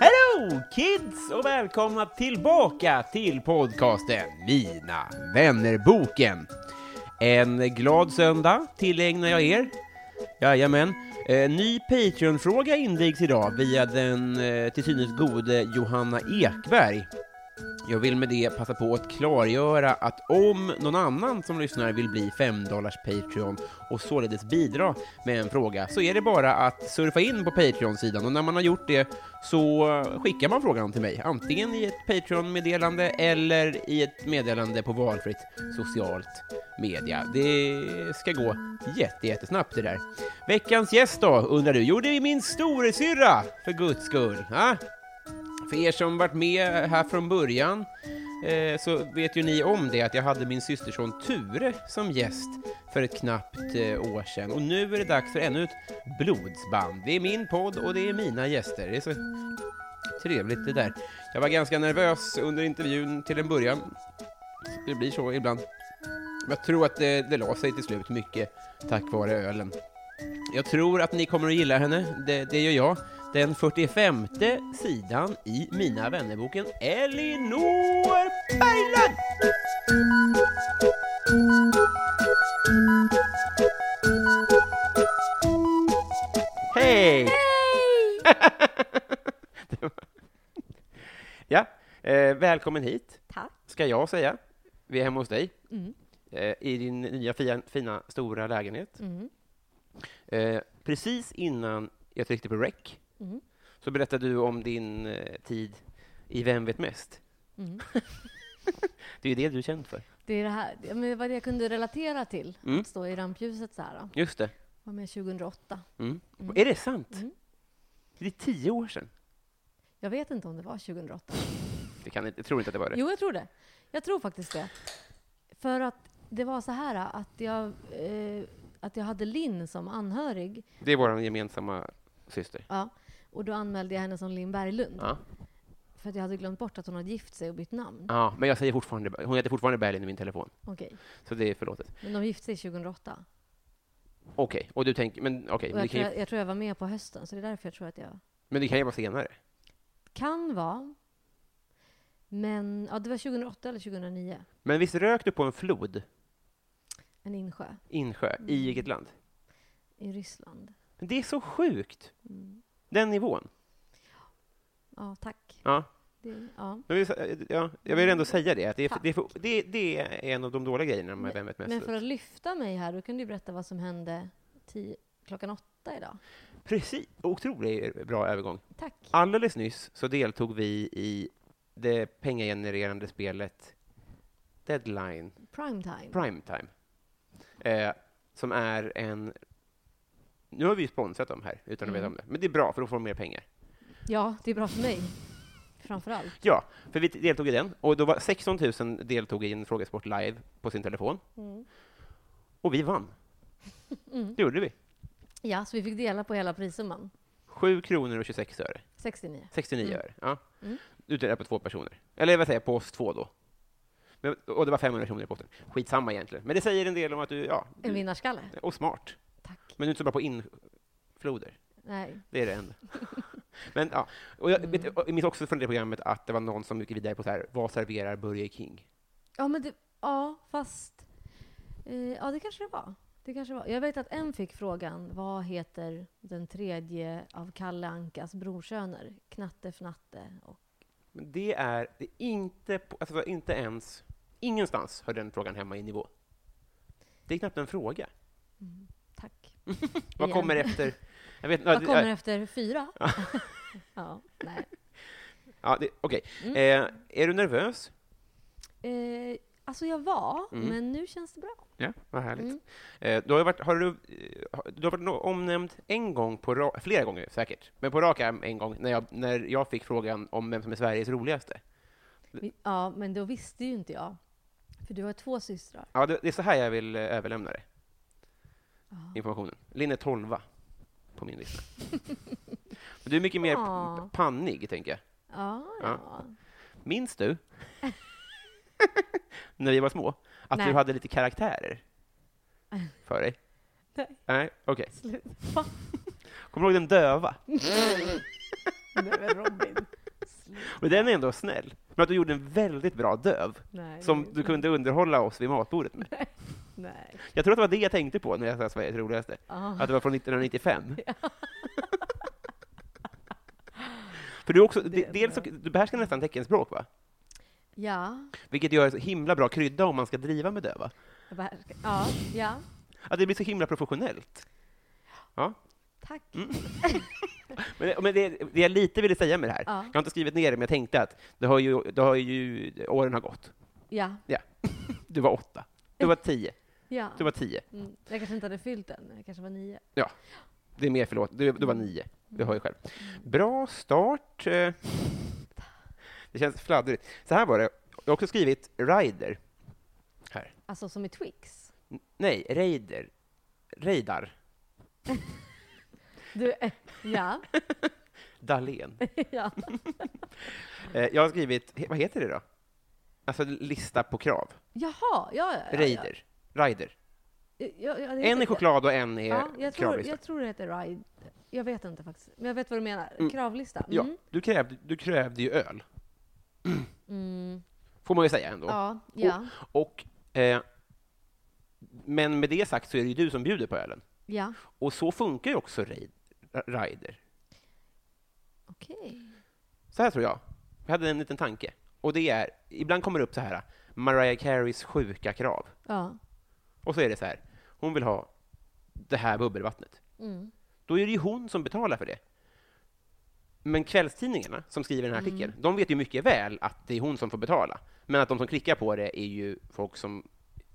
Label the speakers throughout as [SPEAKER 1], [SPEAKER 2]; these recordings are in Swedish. [SPEAKER 1] Hello kids och välkomna tillbaka till podcasten Mina vännerboken. En glad söndag tillägnar jag er. Jajamän. Eh, ny Patreon-fråga invigs idag via den eh, till synes gode Johanna Ekberg. Jag vill med det passa på att klargöra att om någon annan som lyssnar vill bli 5 Patreon och således bidra med en fråga så är det bara att surfa in på Patreon-sidan och när man har gjort det så skickar man frågan till mig, antingen i ett Patreon-meddelande eller i ett meddelande på valfritt socialt media. Det ska gå jätte, jättesnabbt det där. Veckans gäst då, undrar du? Jo, det är min storasyrra, för guds skull. Ah? För er som varit med här från början eh, så vet ju ni om det att jag hade min systerson Ture som gäst för ett knappt eh, år sedan. Och nu är det dags för ännu ett blodsband. Det är min podd och det är mina gäster. Det är så trevligt det där. Jag var ganska nervös under intervjun till en början. Det blir så ibland. Men Jag tror att det, det la sig till slut mycket tack vare ölen. Jag tror att ni kommer att gilla henne, det, det gör jag. Den 45 sidan i Mina vännerboken Elinor Berglund! Hej! Det var- ja, eh, välkommen hit,
[SPEAKER 2] Tack.
[SPEAKER 1] ska jag säga. Vi är hemma hos dig,
[SPEAKER 2] Mm.
[SPEAKER 1] eh, i din nya fina, fina stora lägenhet.
[SPEAKER 2] Mm.
[SPEAKER 1] Eh, precis innan jag tryckte på rec
[SPEAKER 2] Mm.
[SPEAKER 1] så berättade du om din eh, tid i Vem vet mest?
[SPEAKER 2] Mm.
[SPEAKER 1] det är ju det du är känd för.
[SPEAKER 2] Det är det här, ja, men det var det jag kunde relatera till,
[SPEAKER 1] Mm.
[SPEAKER 2] att stå i rampljuset så här. Då.
[SPEAKER 1] Just det.
[SPEAKER 2] var med 2008.
[SPEAKER 1] Mm.
[SPEAKER 2] Mm.
[SPEAKER 1] Är det sant?
[SPEAKER 2] Mm.
[SPEAKER 1] Det är tio år sedan.
[SPEAKER 2] Jag vet inte om det var 2008.
[SPEAKER 1] Det kan, inte- jag tror inte att det var det.
[SPEAKER 2] Jo, jag tror det. Jag tror faktiskt det. För att det var så här att jag, eh, att jag hade Linn som anhörig.
[SPEAKER 1] Det är vår gemensamma syster.
[SPEAKER 2] Ja. Och då anmälde jag henne som Linn Berglund.
[SPEAKER 1] Ja.
[SPEAKER 2] För att jag hade glömt bort att hon hade gift sig och bytt namn.
[SPEAKER 1] ja, men jag säger fortfarande, hon heter fortfarande Berlin i min telefon,
[SPEAKER 2] Okej.
[SPEAKER 1] så det är förlåtet.
[SPEAKER 2] Men de gifte sig 2008.
[SPEAKER 1] Okej, och du tänker, men okej,
[SPEAKER 2] Och
[SPEAKER 1] men, det
[SPEAKER 2] jag,
[SPEAKER 1] kan
[SPEAKER 2] tror
[SPEAKER 1] ju-
[SPEAKER 2] jag, jag tror jag var med på hösten, så det är därför jag tror att jag
[SPEAKER 1] men det kan ju vara senare.
[SPEAKER 2] kan vara. Men ja, det var 2008 eller 2009.
[SPEAKER 1] Men visst rök du på en flod,
[SPEAKER 2] En insjö
[SPEAKER 1] insjö,
[SPEAKER 2] Mm.
[SPEAKER 1] i vilket land?
[SPEAKER 2] i Ryssland.
[SPEAKER 1] Men det är så sjukt,
[SPEAKER 2] Mm.
[SPEAKER 1] den nivån.
[SPEAKER 2] Ja, tack.
[SPEAKER 1] Ja.
[SPEAKER 2] Det, ja.
[SPEAKER 1] Jag vill, ja, jag vill ändå säga det, att det är,
[SPEAKER 2] Tack.
[SPEAKER 1] det, är för, det, är- det är en av de dåliga grejerna med Vem vet mest?
[SPEAKER 2] Men för att lyfta mig här, då kan du berätta vad som hände tio, klockan åtta idag.
[SPEAKER 1] Precis, otroligt bra övergång.
[SPEAKER 2] Tack.
[SPEAKER 1] Alldeles nyss så deltog vi i det pengagenererande spelet Deadline
[SPEAKER 2] Primetime.
[SPEAKER 1] Primetime, eh, som är en... Nu har vi ju sponsrat dem här, utan att veta
[SPEAKER 2] Mm.
[SPEAKER 1] om det. Men det är bra, för då får de mer pengar.
[SPEAKER 2] Ja, det är bra för mig. Framförallt.
[SPEAKER 1] Ja, för vi deltog i den, och då var 16 000 deltog i en Frågesport live på sin telefon,
[SPEAKER 2] Mm.
[SPEAKER 1] och vi vann. Det gjorde vi.
[SPEAKER 2] Ja, så vi fick dela på hela prissumman.
[SPEAKER 1] 7 kronor och 26 öre.
[SPEAKER 2] 69.
[SPEAKER 1] 69 öre. Ja.
[SPEAKER 2] Mm.
[SPEAKER 1] Utdelat på två personer. Eller vad säger jag, på oss två då. Men, och det var 500 kronor i potten. Skitsamma egentligen. Men det säger en del om att du, ja,
[SPEAKER 2] En
[SPEAKER 1] du,
[SPEAKER 2] vinnarskalle.
[SPEAKER 1] och smart.
[SPEAKER 2] Tack.
[SPEAKER 1] Men du är inte så bra på infloder.
[SPEAKER 2] Nej.
[SPEAKER 1] Det är det enda. Men ja, och jag,
[SPEAKER 2] Mm.
[SPEAKER 1] vet, och jag minns också från det programmet att det var någon som gick vidare på så här, vad serverar Burger King?
[SPEAKER 2] Ja, men det, ja fast... Eh, ja, det kanske det var. Det kanske det var. Jag vet att en fick frågan, vad heter den tredje av Kalle Ankas brorsöner? Knatte Fnatte och...
[SPEAKER 1] Men det är, det är inte, på- alltså, det var inte ens, ingenstans hör den frågan hemma i nivå. Det är knappt en fråga.
[SPEAKER 2] Tack.
[SPEAKER 1] Vad
[SPEAKER 2] Igen.
[SPEAKER 1] kommer efter? Jag vet,
[SPEAKER 2] Vad kommer
[SPEAKER 1] ja,
[SPEAKER 2] efter fyra? ja, nej.
[SPEAKER 1] ja, det, Okej.
[SPEAKER 2] Mm.
[SPEAKER 1] Eh, är du nervös?
[SPEAKER 2] Eh, alltså, jag var,
[SPEAKER 1] Mm.
[SPEAKER 2] men nu känns det bra.
[SPEAKER 1] Ja, vad härligt.
[SPEAKER 2] Mm.
[SPEAKER 1] Eh, du har, ju varit, har, du, eh, har- du har varit no- omnämnd en gång, på ra- flera gånger säkert, men på rak arm en gång, när jag, när jag fick frågan om vem som är Sveriges roligaste.
[SPEAKER 2] Vi- Ja, men då visste ju inte jag. För du har två systrar.
[SPEAKER 1] Ja, det, det är så här jag vill eh, överlämna det. Informationen. Linne 12 på min lista. Men du är mycket mer p-
[SPEAKER 2] Ja.
[SPEAKER 1] pannig, tänker jag.
[SPEAKER 2] Ja,
[SPEAKER 1] Ja.
[SPEAKER 2] ja.
[SPEAKER 1] Minns du, när vi var små, att
[SPEAKER 2] Nej.
[SPEAKER 1] du hade lite karaktärer för dig?
[SPEAKER 2] Nej.
[SPEAKER 1] Nej, okej.
[SPEAKER 2] Sluta.
[SPEAKER 1] Kommer du ihåg den döva?
[SPEAKER 2] Nej, men Robin.
[SPEAKER 1] Men den är ändå snäll. Men att du gjorde en väldigt bra döv,
[SPEAKER 2] Nej.
[SPEAKER 1] som du kunde underhålla oss vid matbordet med.
[SPEAKER 2] Nej.
[SPEAKER 1] Jag tror att det var det jag tänkte på när jag sa Sveriges roligaste,
[SPEAKER 2] Ah.
[SPEAKER 1] att det var från 1995. För du, är också,
[SPEAKER 2] Det är
[SPEAKER 1] dels, så- du behärskar nästan teckenspråk, va?
[SPEAKER 2] Ja.
[SPEAKER 1] Vilket gör så himla bra krydda om man ska driva med döva.
[SPEAKER 2] Jag behärskar. Ja, ja.
[SPEAKER 1] Att det blir så himla professionellt. Ja.
[SPEAKER 2] Tack.
[SPEAKER 1] Mm. Men, det- men det, det jag lite ville säga med det här,
[SPEAKER 2] Ja.
[SPEAKER 1] jag har inte skrivit ner det, men jag tänkte att det har ju, det har ju åren har gått.
[SPEAKER 2] Ja.
[SPEAKER 1] Ja. Du var åtta, du var tio,
[SPEAKER 2] ja.
[SPEAKER 1] du var tio.
[SPEAKER 2] Mm. Jag kanske inte hade fyllt den. Jag kanske var nio.
[SPEAKER 1] Det är mer förlåt. Du, du var nio. Du hör ju själv. Bra start. eh. Det känns fladdrigt. Så här var det. Jag har också skrivit rider. Här.
[SPEAKER 2] Alltså som i Twix.
[SPEAKER 1] N- Nej, raider. Reidar.
[SPEAKER 2] Du, eh, ja.
[SPEAKER 1] Dahlén.
[SPEAKER 2] ja.
[SPEAKER 1] Eh, Jag har skrivit, he- vad heter det då? Alltså lista på krav.
[SPEAKER 2] Jaha, ja, ja, ja.
[SPEAKER 1] Raider. Rider.
[SPEAKER 2] Ja, ja, ja, det
[SPEAKER 1] En är
[SPEAKER 2] heter-
[SPEAKER 1] choklad och en är
[SPEAKER 2] Ja, jag tror,
[SPEAKER 1] kravlista.
[SPEAKER 2] jag tror det heter Ride. Jag vet inte faktiskt. Men jag vet vad du menar.
[SPEAKER 1] Mm.
[SPEAKER 2] Kravlista.
[SPEAKER 1] Ja,
[SPEAKER 2] Mm.
[SPEAKER 1] du krävde, du krävde ju öl.
[SPEAKER 2] Mm.
[SPEAKER 1] Får man ju säga ändå.
[SPEAKER 2] Ja, ja,
[SPEAKER 1] Och, eh, men med det sagt så är det ju du som bjuder på ölen.
[SPEAKER 2] ja.
[SPEAKER 1] Och så funkar ju också raid- ra- rider.
[SPEAKER 2] Okej.
[SPEAKER 1] Så här tror jag. Jag hade en liten tanke. Och det är, ibland kommer det upp så här, Mariah Careys sjuka krav.
[SPEAKER 2] Ja.
[SPEAKER 1] Och så är det så här, hon vill ha det här bubbelvattnet.
[SPEAKER 2] Mm.
[SPEAKER 1] Då är det ju hon som betalar för det. Men kvällstidningarna som skriver den här
[SPEAKER 2] Mm.
[SPEAKER 1] artikeln, de vet ju mycket väl att det är hon som får betala. Men att de som klickar på det är ju folk som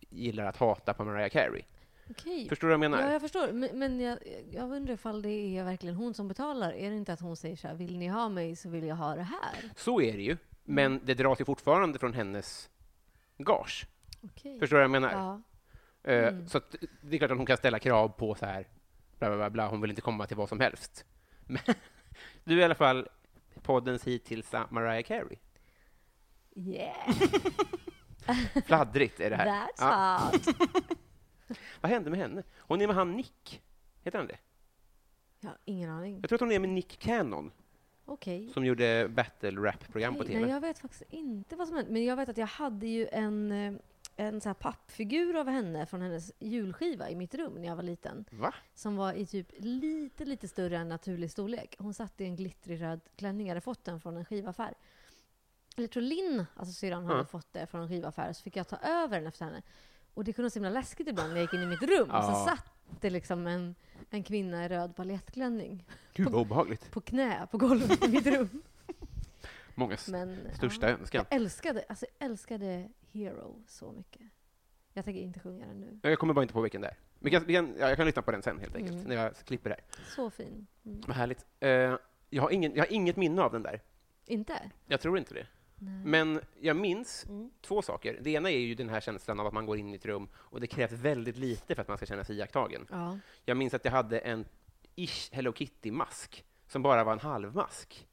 [SPEAKER 1] gillar att hata på Mariah Carey.
[SPEAKER 2] Okej.
[SPEAKER 1] Förstår du vad jag menar?
[SPEAKER 2] Ja, jag förstår. Men, men jag, jag undrar ifall det är verkligen hon som betalar. Är det inte att hon säger så här, vill ni ha mig så vill jag ha det här?
[SPEAKER 1] Så är det ju.
[SPEAKER 2] Mm.
[SPEAKER 1] Men det dras ju fortfarande från hennes gage.
[SPEAKER 2] Okej.
[SPEAKER 1] Förstår du vad jag menar?
[SPEAKER 2] Ja.
[SPEAKER 1] Eh,
[SPEAKER 2] Mm.
[SPEAKER 1] Så att, det är klart att hon kan ställa krav på så här, bla, bla, bla, bla. hon vill inte komma till vad som helst. Men du är i alla fall poddens hittills Mariah Carey.
[SPEAKER 2] Yeah,
[SPEAKER 1] Fladdrigt är det här.
[SPEAKER 2] that's hot!
[SPEAKER 1] Vad hände med henne? Hon är med han Nick, heter han det?
[SPEAKER 2] Jag har ingen aning.
[SPEAKER 1] Jag tror att hon är med Nick Cannon,
[SPEAKER 2] Okej.
[SPEAKER 1] som gjorde battle rap-program på
[SPEAKER 2] Nej,
[SPEAKER 1] TV.
[SPEAKER 2] nej, jag vet faktiskt inte vad som hände. Men jag vet att jag hade ju en, eh, en så här pappfigur av henne från hennes julskiva i mitt rum när jag var liten.
[SPEAKER 1] Va?
[SPEAKER 2] Som var i typ lite, lite större än naturlig storlek. Hon satt i en glittrig röd klänning. Jag hade fått den från en skivaffär. Eller Jag tror Linn, alltså syrran, hade
[SPEAKER 1] Ja.
[SPEAKER 2] fått det från en skivaffär. Så fick jag ta över den efter henne. Och det kunde vara så himla läskigt ibland när jag gick in i mitt rum.
[SPEAKER 1] Ja.
[SPEAKER 2] Så satt det liksom en, en kvinna i röd baljettklänning
[SPEAKER 1] Gud vad obehagligt.
[SPEAKER 2] på knä på golvet i mitt rum.
[SPEAKER 1] Mångas
[SPEAKER 2] Men,
[SPEAKER 1] största
[SPEAKER 2] ja.
[SPEAKER 1] önskan.
[SPEAKER 2] Jag älskade, alltså jag älskade Hero så mycket. Jag tänker inte sjunga den nu.
[SPEAKER 1] Jag kommer bara inte på vilken det är. Vi kan, vi kan, ja, jag kan lyssna på den sen helt enkelt,
[SPEAKER 2] Mm.
[SPEAKER 1] när jag klipper det här.
[SPEAKER 2] Så fin. Mm.
[SPEAKER 1] Vad härligt. Eh, jag, har ingen, jag har inget minne av den där.
[SPEAKER 2] Inte?
[SPEAKER 1] Jag tror inte det.
[SPEAKER 2] Nej.
[SPEAKER 1] Men jag minns
[SPEAKER 2] Mm.
[SPEAKER 1] två saker. Det ena är ju den här känslan av att man går in i ett rum och det krävs väldigt lite för att man ska känna sig iakttagen.
[SPEAKER 2] Ja.
[SPEAKER 1] Jag minns att jag hade en ish Hello Kitty-mask
[SPEAKER 2] Mhm.
[SPEAKER 1] som bara var en halvmask.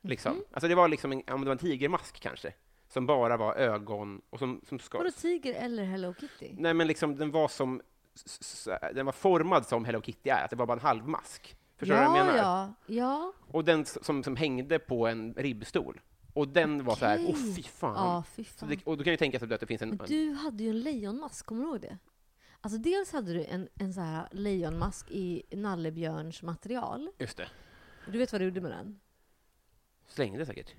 [SPEAKER 1] Liksom. Alltså det var liksom en, ja, men det var en tigermask kanske, som bara var ögon och som, som ska...
[SPEAKER 2] Vadå tiger eller Hello Kitty?
[SPEAKER 1] Nej, men liksom den var som... s- s- Den var formad som Hello Kitty är, att det var bara en halvmask. Förstår du
[SPEAKER 2] ja,
[SPEAKER 1] vad jag menar?
[SPEAKER 2] ja, ja.
[SPEAKER 1] Och den s- som, som hängde på en ribbstol. Och den var så här,
[SPEAKER 2] Okej.
[SPEAKER 1] åh fy fan.
[SPEAKER 2] Ja, fy
[SPEAKER 1] Så
[SPEAKER 2] fan.
[SPEAKER 1] det, och då kan du tänka sig att det finns en...
[SPEAKER 2] Men du hade ju en lejonmask, kommer du ihåg det? Alltså dels hade du en, en så här lejonmask i nallebjörns material.
[SPEAKER 1] Just det.
[SPEAKER 2] Du vet vad du gjorde med den?
[SPEAKER 1] Slängde säkert.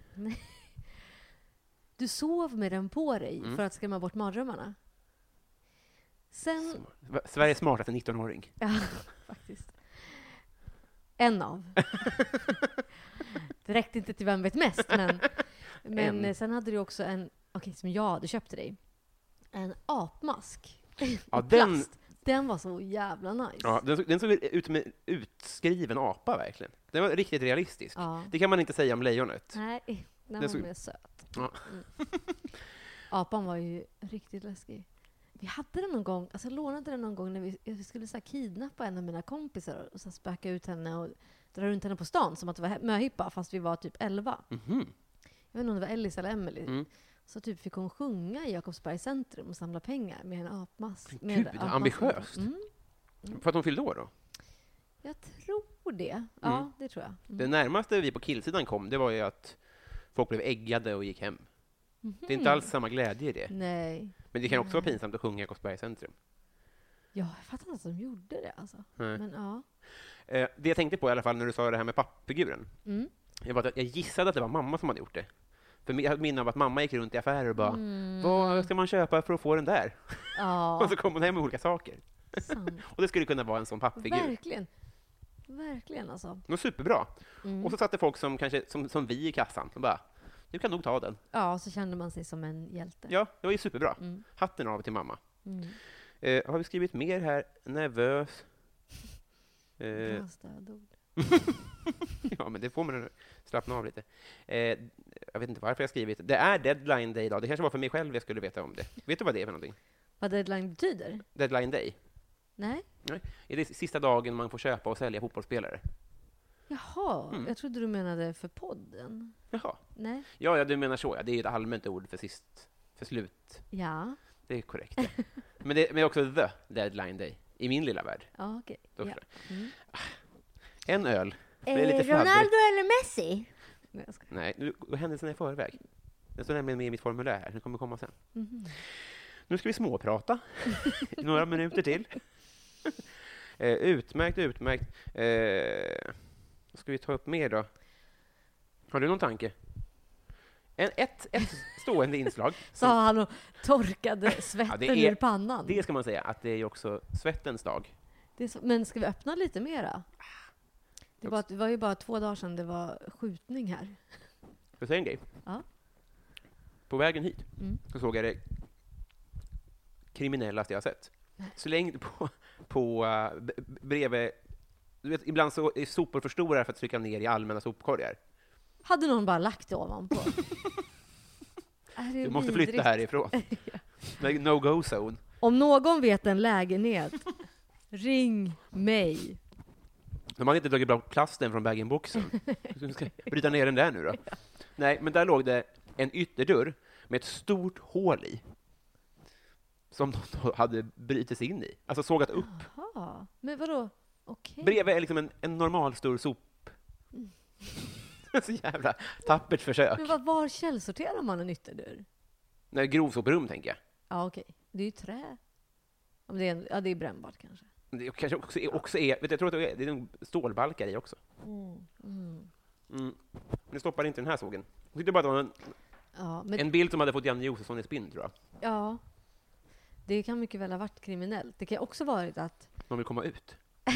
[SPEAKER 2] Du sov med den på dig
[SPEAKER 1] Mm.
[SPEAKER 2] för att skrämma bort mardrömmarna. Sen...
[SPEAKER 1] Smart. Sveriges smartaste 19-åring.
[SPEAKER 2] Ja, faktiskt. En av. Det räckte inte till Vem vet mest, men... Men
[SPEAKER 1] En.
[SPEAKER 2] eh, sen hade du också en, okej, som jag hade köpt till dig. En apmask.
[SPEAKER 1] Ja,
[SPEAKER 2] I
[SPEAKER 1] den,
[SPEAKER 2] plast. Den var så jävla nice.
[SPEAKER 1] ja, den, såg- den såg ut som en utskriven apa, verkligen. Den var riktigt realistisk.
[SPEAKER 2] Ja.
[SPEAKER 1] Det kan man inte säga om lejonet.
[SPEAKER 2] Nej, den var
[SPEAKER 1] såg-
[SPEAKER 2] mer söt.
[SPEAKER 1] Ja.
[SPEAKER 2] Mm. Apan var ju riktigt läskig. Vi hade den någon gång, alltså jag lånade den någon gång när vi, vi skulle så här kidnappa en av mina kompisar och så här spöka ut henne och dra runt henne på stan som att det var he- möhippa fast vi var typ 11.
[SPEAKER 1] Mhm.
[SPEAKER 2] Jag vet inte om det var Ellis eller Emily.
[SPEAKER 1] Mm.
[SPEAKER 2] Så typ fick hon sjunga i Jakobsbergs centrum och samla pengar med en apmask.
[SPEAKER 1] Men
[SPEAKER 2] med
[SPEAKER 1] gud,
[SPEAKER 2] en
[SPEAKER 1] vad
[SPEAKER 2] apmask.
[SPEAKER 1] ambitiöst.
[SPEAKER 2] Mm,
[SPEAKER 1] För att de fyllde år då?
[SPEAKER 2] jag tror det. Ja,
[SPEAKER 1] Mm.
[SPEAKER 2] det tror jag. Mm.
[SPEAKER 1] Det närmaste vi på killsidan kom, det var ju att folk blev äggade och gick hem. Det är inte alls samma glädje i det.
[SPEAKER 2] Mhm. Nej.
[SPEAKER 1] Men det kan också vara pinsamt att sjunga i Jakobsbergs centrum.
[SPEAKER 2] Ja, jag fattar inte att de gjorde det alltså.
[SPEAKER 1] Nej.
[SPEAKER 2] Men ja.
[SPEAKER 1] Eh, Det jag tänkte på i alla fall när du sa det här med pappfiguren,
[SPEAKER 2] Mm.
[SPEAKER 1] det var att jag gissade att det var mamma som hade gjort det. För jag hade ett minne av att mamma gick runt i affärer och bara ”Vad ska man köpa för att få den där?”
[SPEAKER 2] Mm. Ja,
[SPEAKER 1] Och så kom hon hem med olika saker.
[SPEAKER 2] sant.
[SPEAKER 1] Och det skulle kunna vara en sån pappfigur.
[SPEAKER 2] Verkligen. Verkligen alltså.
[SPEAKER 1] Det var superbra.
[SPEAKER 2] Mm.
[SPEAKER 1] Och så satt det folk som, kanske, som, som vi i kassan och bara ”Du kan nog ta den”.
[SPEAKER 2] Ja, så kände man sig som en hjälte.
[SPEAKER 1] Ja, det var ju superbra.
[SPEAKER 2] Mm.
[SPEAKER 1] Hatten av till mamma.
[SPEAKER 2] Mm.
[SPEAKER 1] Eh, har vi skrivit mer här? Nervös. Eh,
[SPEAKER 2] Bra stödord.
[SPEAKER 1] ja, men det får man slappna av lite. Eh, jag vet inte varför jag skrivit. Det är deadline day idag. Det kanske var för mig själv jag skulle veta om det. Vet du vad det är för någonting?
[SPEAKER 2] Vad deadline betyder?
[SPEAKER 1] Deadline day.
[SPEAKER 2] Nej?
[SPEAKER 1] Är det sista dagen man får köpa och sälja fotbollsspelare?
[SPEAKER 2] Jaha,
[SPEAKER 1] Mm.
[SPEAKER 2] jag trodde du menade för podden.
[SPEAKER 1] Jaha.
[SPEAKER 2] Nej?
[SPEAKER 1] Ja, ja, du menar så. Ja. Det är ju ett allmänt ord för sist, för slut.
[SPEAKER 2] Ja,
[SPEAKER 1] Det är korrekt. ja. men det men också the deadline day, i min lilla värld.
[SPEAKER 2] ja okej.
[SPEAKER 1] Då
[SPEAKER 2] Ja.
[SPEAKER 1] förstår
[SPEAKER 2] Mm.
[SPEAKER 1] jag. En öl. Det är
[SPEAKER 3] Eh,
[SPEAKER 1] lite
[SPEAKER 3] Ronaldo
[SPEAKER 1] fladdrigt.
[SPEAKER 3] eller Messi?
[SPEAKER 2] Nej, jag skojar.
[SPEAKER 1] Nej, nu går händelserna i förväg. Det står nämligen med i mitt formulär här. Det kommer komma sen.
[SPEAKER 2] Mhm.
[SPEAKER 1] Nu ska vi småprata i några minuter till. eh, utmärkt, utmärkt. Eh, vad ska vi ta upp mer då? Har du någon tanke? En, ett, ett stående inslag.
[SPEAKER 2] Sa han och torkade
[SPEAKER 1] Ja,
[SPEAKER 2] svetten
[SPEAKER 1] det är-
[SPEAKER 2] ur pannan.
[SPEAKER 1] Det ska man säga att det är ju också svettens dag.
[SPEAKER 2] Det är så, men ska vi öppna lite mera?
[SPEAKER 1] Ah.
[SPEAKER 2] Det var, det var ju bara två dagar sedan det var skjutning här.
[SPEAKER 1] Får jag säga en grej?
[SPEAKER 2] Ja.
[SPEAKER 1] På vägen hit
[SPEAKER 2] Mm.
[SPEAKER 1] så såg jag det kriminellaste jag har sett. Slängd på, på eh, b- b- bredvid... Du vet, ibland så är sopor för stora för att trycka ner i allmänna sopkorgar.
[SPEAKER 2] Hade någon bara lagt det ovanpå? Är det
[SPEAKER 1] Du måste
[SPEAKER 2] vidrigt?
[SPEAKER 1] flytta härifrån. Nej, No-go-zone.
[SPEAKER 2] Om någon vet en lägenhet, ring mig.
[SPEAKER 1] De hade inte dragit bort plasten från bag boxen Du ska bryta ner den där nu då. Nej, men där låg det en ytterdörr med ett stort hål i. Som de då hade brutit sig in i. Alltså sågat upp.
[SPEAKER 2] Jaha, men vadå? Okej.
[SPEAKER 1] Bredvid är liksom en, en normal stor sop. Så jävla tappert försök.
[SPEAKER 2] Men var, var källsorterar man en ytterdörr?
[SPEAKER 1] Nej, grovsoprum tänker jag.
[SPEAKER 2] Ja, okej. Det är ju trä. Om det är, en, ja, det är brännbart kanske.
[SPEAKER 1] Det kanske också är, också är vet du, jag tror att det är, det är en stålbalkar i också. Mm. Men det stoppar inte den här sågen. Jag tyckte bara att det var en,
[SPEAKER 2] Ja, men,
[SPEAKER 1] en bild som hade fått Janne Josefsson i spinn, tror jag.
[SPEAKER 2] ja, det kan mycket väl ha varit kriminellt. Det kan också ha varit att
[SPEAKER 1] De vill komma ut.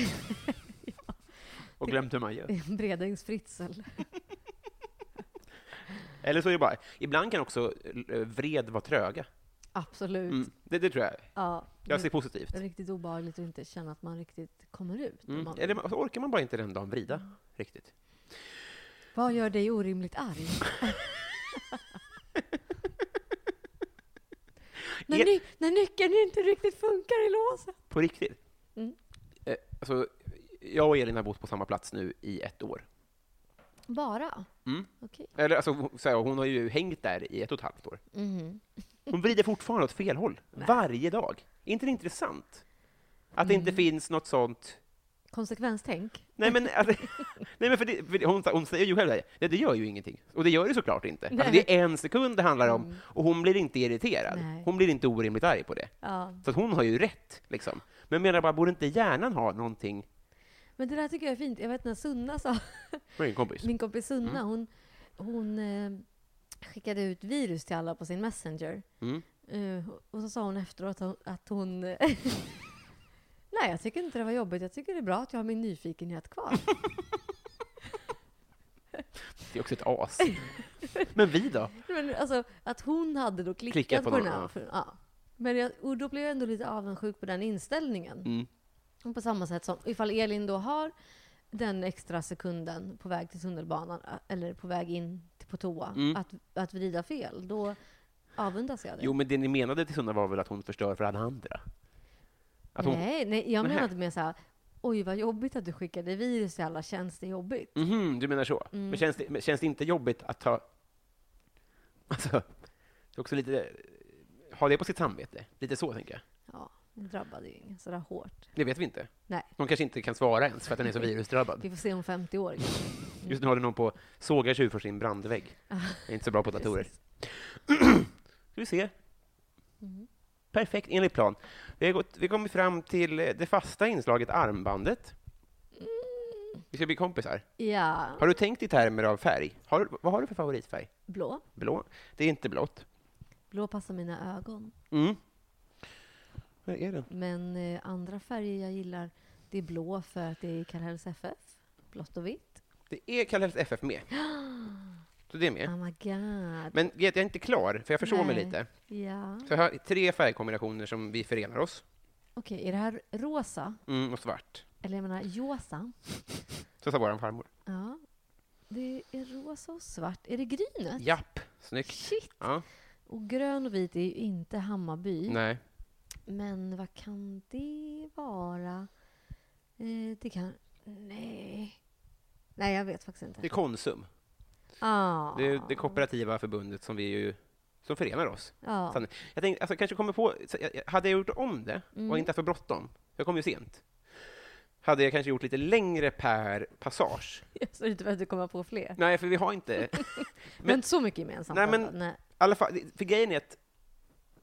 [SPEAKER 1] Och glömt hur man gör.
[SPEAKER 2] Bredängs Fritzl.
[SPEAKER 1] Eller så är det bara, ibland kan också eh, vred vara tröga.
[SPEAKER 2] Absolut.
[SPEAKER 1] Mm. Det, det tror jag.
[SPEAKER 2] Ja,
[SPEAKER 1] Jag
[SPEAKER 2] det
[SPEAKER 1] ser positivt.
[SPEAKER 2] är riktigt obehagligt att inte känna att man riktigt kommer ut. när
[SPEAKER 1] Mm.
[SPEAKER 2] Man,
[SPEAKER 1] Eller så orkar man bara inte den dagen vrida riktigt.
[SPEAKER 2] Vad gör dig orimligt arg? när,
[SPEAKER 1] Är-
[SPEAKER 2] ny, när nyckeln inte riktigt funkar i låset.
[SPEAKER 1] På riktigt.
[SPEAKER 2] Mm.
[SPEAKER 1] Eh, alltså, jag och Elin har bott på samma plats nu i ett år.
[SPEAKER 2] Bara?
[SPEAKER 1] Mm.
[SPEAKER 2] Okej.
[SPEAKER 1] Eller alltså, så här, hon har ju hängt där i ett och ett halvt år.
[SPEAKER 2] Mhm.
[SPEAKER 1] Hon vrider fortfarande åt fel håll, varje dag. Är inte det intressant? Att det
[SPEAKER 2] Mm.
[SPEAKER 1] inte finns något sånt...
[SPEAKER 2] Konsekvenstänk?
[SPEAKER 1] Nej, men, att- nej, men för det, för det- hon, sa- hon säger ju själv det, det, det gör ju ingenting. Och det gör det såklart inte. Alltså, det är en sekund det handlar om, och hon blir inte irriterad.
[SPEAKER 2] Mm. Nej.
[SPEAKER 1] Hon blir inte orimligt arg på det.
[SPEAKER 2] Ja.
[SPEAKER 1] Så att hon har ju rätt, liksom. Men jag menar bara, borde inte hjärnan ha någonting...
[SPEAKER 2] Men det där tycker jag är fint. Jag vet när Sunna sa,
[SPEAKER 1] Var det en kompis?
[SPEAKER 2] min kompis Sunna,
[SPEAKER 1] Mm.
[SPEAKER 2] hon, hon eh, skickade ut virus till alla på sin Messenger.
[SPEAKER 1] Mm.
[SPEAKER 2] Eh, och så sa hon efteråt att hon... Att hon Nej, jag tycker inte det var jobbigt. Jag tycker det är bra att jag har min nyfikenhet kvar.
[SPEAKER 1] Det är också ett as. Men vi då?
[SPEAKER 2] Men alltså, att hon hade då klickat
[SPEAKER 1] Klickat på
[SPEAKER 2] på,
[SPEAKER 1] någon,
[SPEAKER 2] den här.
[SPEAKER 1] ja.
[SPEAKER 2] för- Ja. Men jag, och då blev jag ändå lite avundsjuk på den inställningen.
[SPEAKER 1] Mm.
[SPEAKER 2] Och på samma sätt som ifall Elin då har den extra sekunden på väg till tunnelbanan ä- eller på väg in till- på toa,
[SPEAKER 1] Mm.
[SPEAKER 2] att, att vrida fel, då avundas jag det.
[SPEAKER 1] Jo, men det ni menade till Sunna var väl att hon förstör för alla andra? Att hon...
[SPEAKER 2] nej, nej, jag
[SPEAKER 1] Nähä.
[SPEAKER 2] menade mer såhär, oj vad jobbigt att du skickade virus till alla, känns det jobbigt?
[SPEAKER 1] Mhm, du menar så.
[SPEAKER 2] Mm.
[SPEAKER 1] Men, känns det, men känns det inte jobbigt att ta... Alltså, det är också lite... Ha det på sitt samvete. Lite så, tänker jag.
[SPEAKER 2] Ja, det drabbade ju ingen sådär hårt.
[SPEAKER 1] Det vet vi inte.
[SPEAKER 2] Nej,
[SPEAKER 1] Hon kanske inte kan svara ens för att den är så virusdrabbad.
[SPEAKER 2] vi får se om 50 år. kanske.
[SPEAKER 1] Mm. Just nu håller någon på och sågar sig ur för sin brandvägg. Jag är inte så bra på datorer.
[SPEAKER 2] Ah. Precis.
[SPEAKER 1] Ska vi se.
[SPEAKER 2] Mm.
[SPEAKER 1] Perfekt, enligt plan. Vi har gått, vi har kommit fram till eh, det fasta inslaget armbandet.
[SPEAKER 2] Mm.
[SPEAKER 1] Vi ska bli kompisar.
[SPEAKER 2] Ja,
[SPEAKER 1] Har du tänkt i termer av färg? Har, du- vad har du för favoritfärg?
[SPEAKER 2] blå.
[SPEAKER 1] Blå? Det är inte blått.
[SPEAKER 2] Blå passar mina ögon.
[SPEAKER 1] Mm. Vad är den?
[SPEAKER 2] Men eh, andra färger jag gillar, det är blå för att det är Kallhälls FF, blått och vitt.
[SPEAKER 1] Det E är Kallhälls FF med. Så det är med.
[SPEAKER 2] Oh my god.
[SPEAKER 1] Men vet, jag är inte klar, för jag försov mig
[SPEAKER 2] Nej.
[SPEAKER 1] lite.
[SPEAKER 2] Ja.
[SPEAKER 1] Så jag har tre färgkombinationer som vi förenar oss.
[SPEAKER 2] Okej, är det här rosa?
[SPEAKER 1] Mm, och svart.
[SPEAKER 2] Eller jag menar josa?
[SPEAKER 1] Så sa vår farmor.
[SPEAKER 2] Ja. Det är rosa och svart. Är det grynet?
[SPEAKER 1] Japp, snyggt.
[SPEAKER 2] Shit!
[SPEAKER 1] Ja,
[SPEAKER 2] Och grön och vit är ju inte Hammarby.
[SPEAKER 1] nej.
[SPEAKER 2] Men vad kan det vara? Eh, det kan... Nej. Nej, jag vet faktiskt
[SPEAKER 1] Det är
[SPEAKER 2] inte.
[SPEAKER 1] Konsum.
[SPEAKER 2] Ah.
[SPEAKER 1] Det är det kooperativa förbundet som vi ju som förenar oss.
[SPEAKER 2] Ja.
[SPEAKER 1] Sen- Jag tänkte, alltså, kanske kommer på, så jag- jag- hade jag gjort om det och
[SPEAKER 2] Mm.
[SPEAKER 1] inte haft så bråttom, jag kom ju sent, hade jag kanske gjort lite längre per passage.
[SPEAKER 2] Jag ser inte för att du kommer på fler.
[SPEAKER 1] Nej, för vi har inte
[SPEAKER 2] Men, inte så mycket gemensamt.
[SPEAKER 1] Nej, men-
[SPEAKER 2] alltså. Nej.
[SPEAKER 1] I alla fall, för grejen är att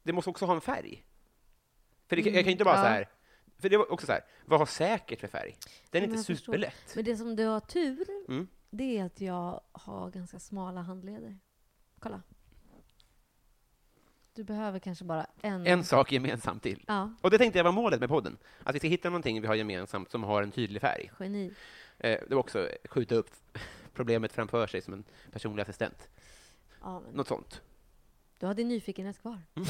[SPEAKER 1] det måste också ha en färg. För det, kan- jag kan ju inte bara
[SPEAKER 2] Mm, ja.
[SPEAKER 1] så här, för det var också så här, vad har säkert för färg? Den är
[SPEAKER 2] Men
[SPEAKER 1] inte
[SPEAKER 2] jag förstår.
[SPEAKER 1] superlätt.
[SPEAKER 2] Men det som du har tur,
[SPEAKER 1] Mm.
[SPEAKER 2] det är att jag har ganska smala handleder. Kolla. Du behöver kanske bara en...
[SPEAKER 1] En sak gemensamt till.
[SPEAKER 2] Ja,
[SPEAKER 1] Och det tänkte jag var målet med podden, att vi ska hitta någonting vi har gemensamt som har en tydlig färg.
[SPEAKER 2] geni.
[SPEAKER 1] Eh, det var också skjuta upp problemet framför sig som en personlig assistent.
[SPEAKER 2] Ja, men
[SPEAKER 1] Något sånt.
[SPEAKER 2] du har din nyfikenhet kvar.
[SPEAKER 1] Mm.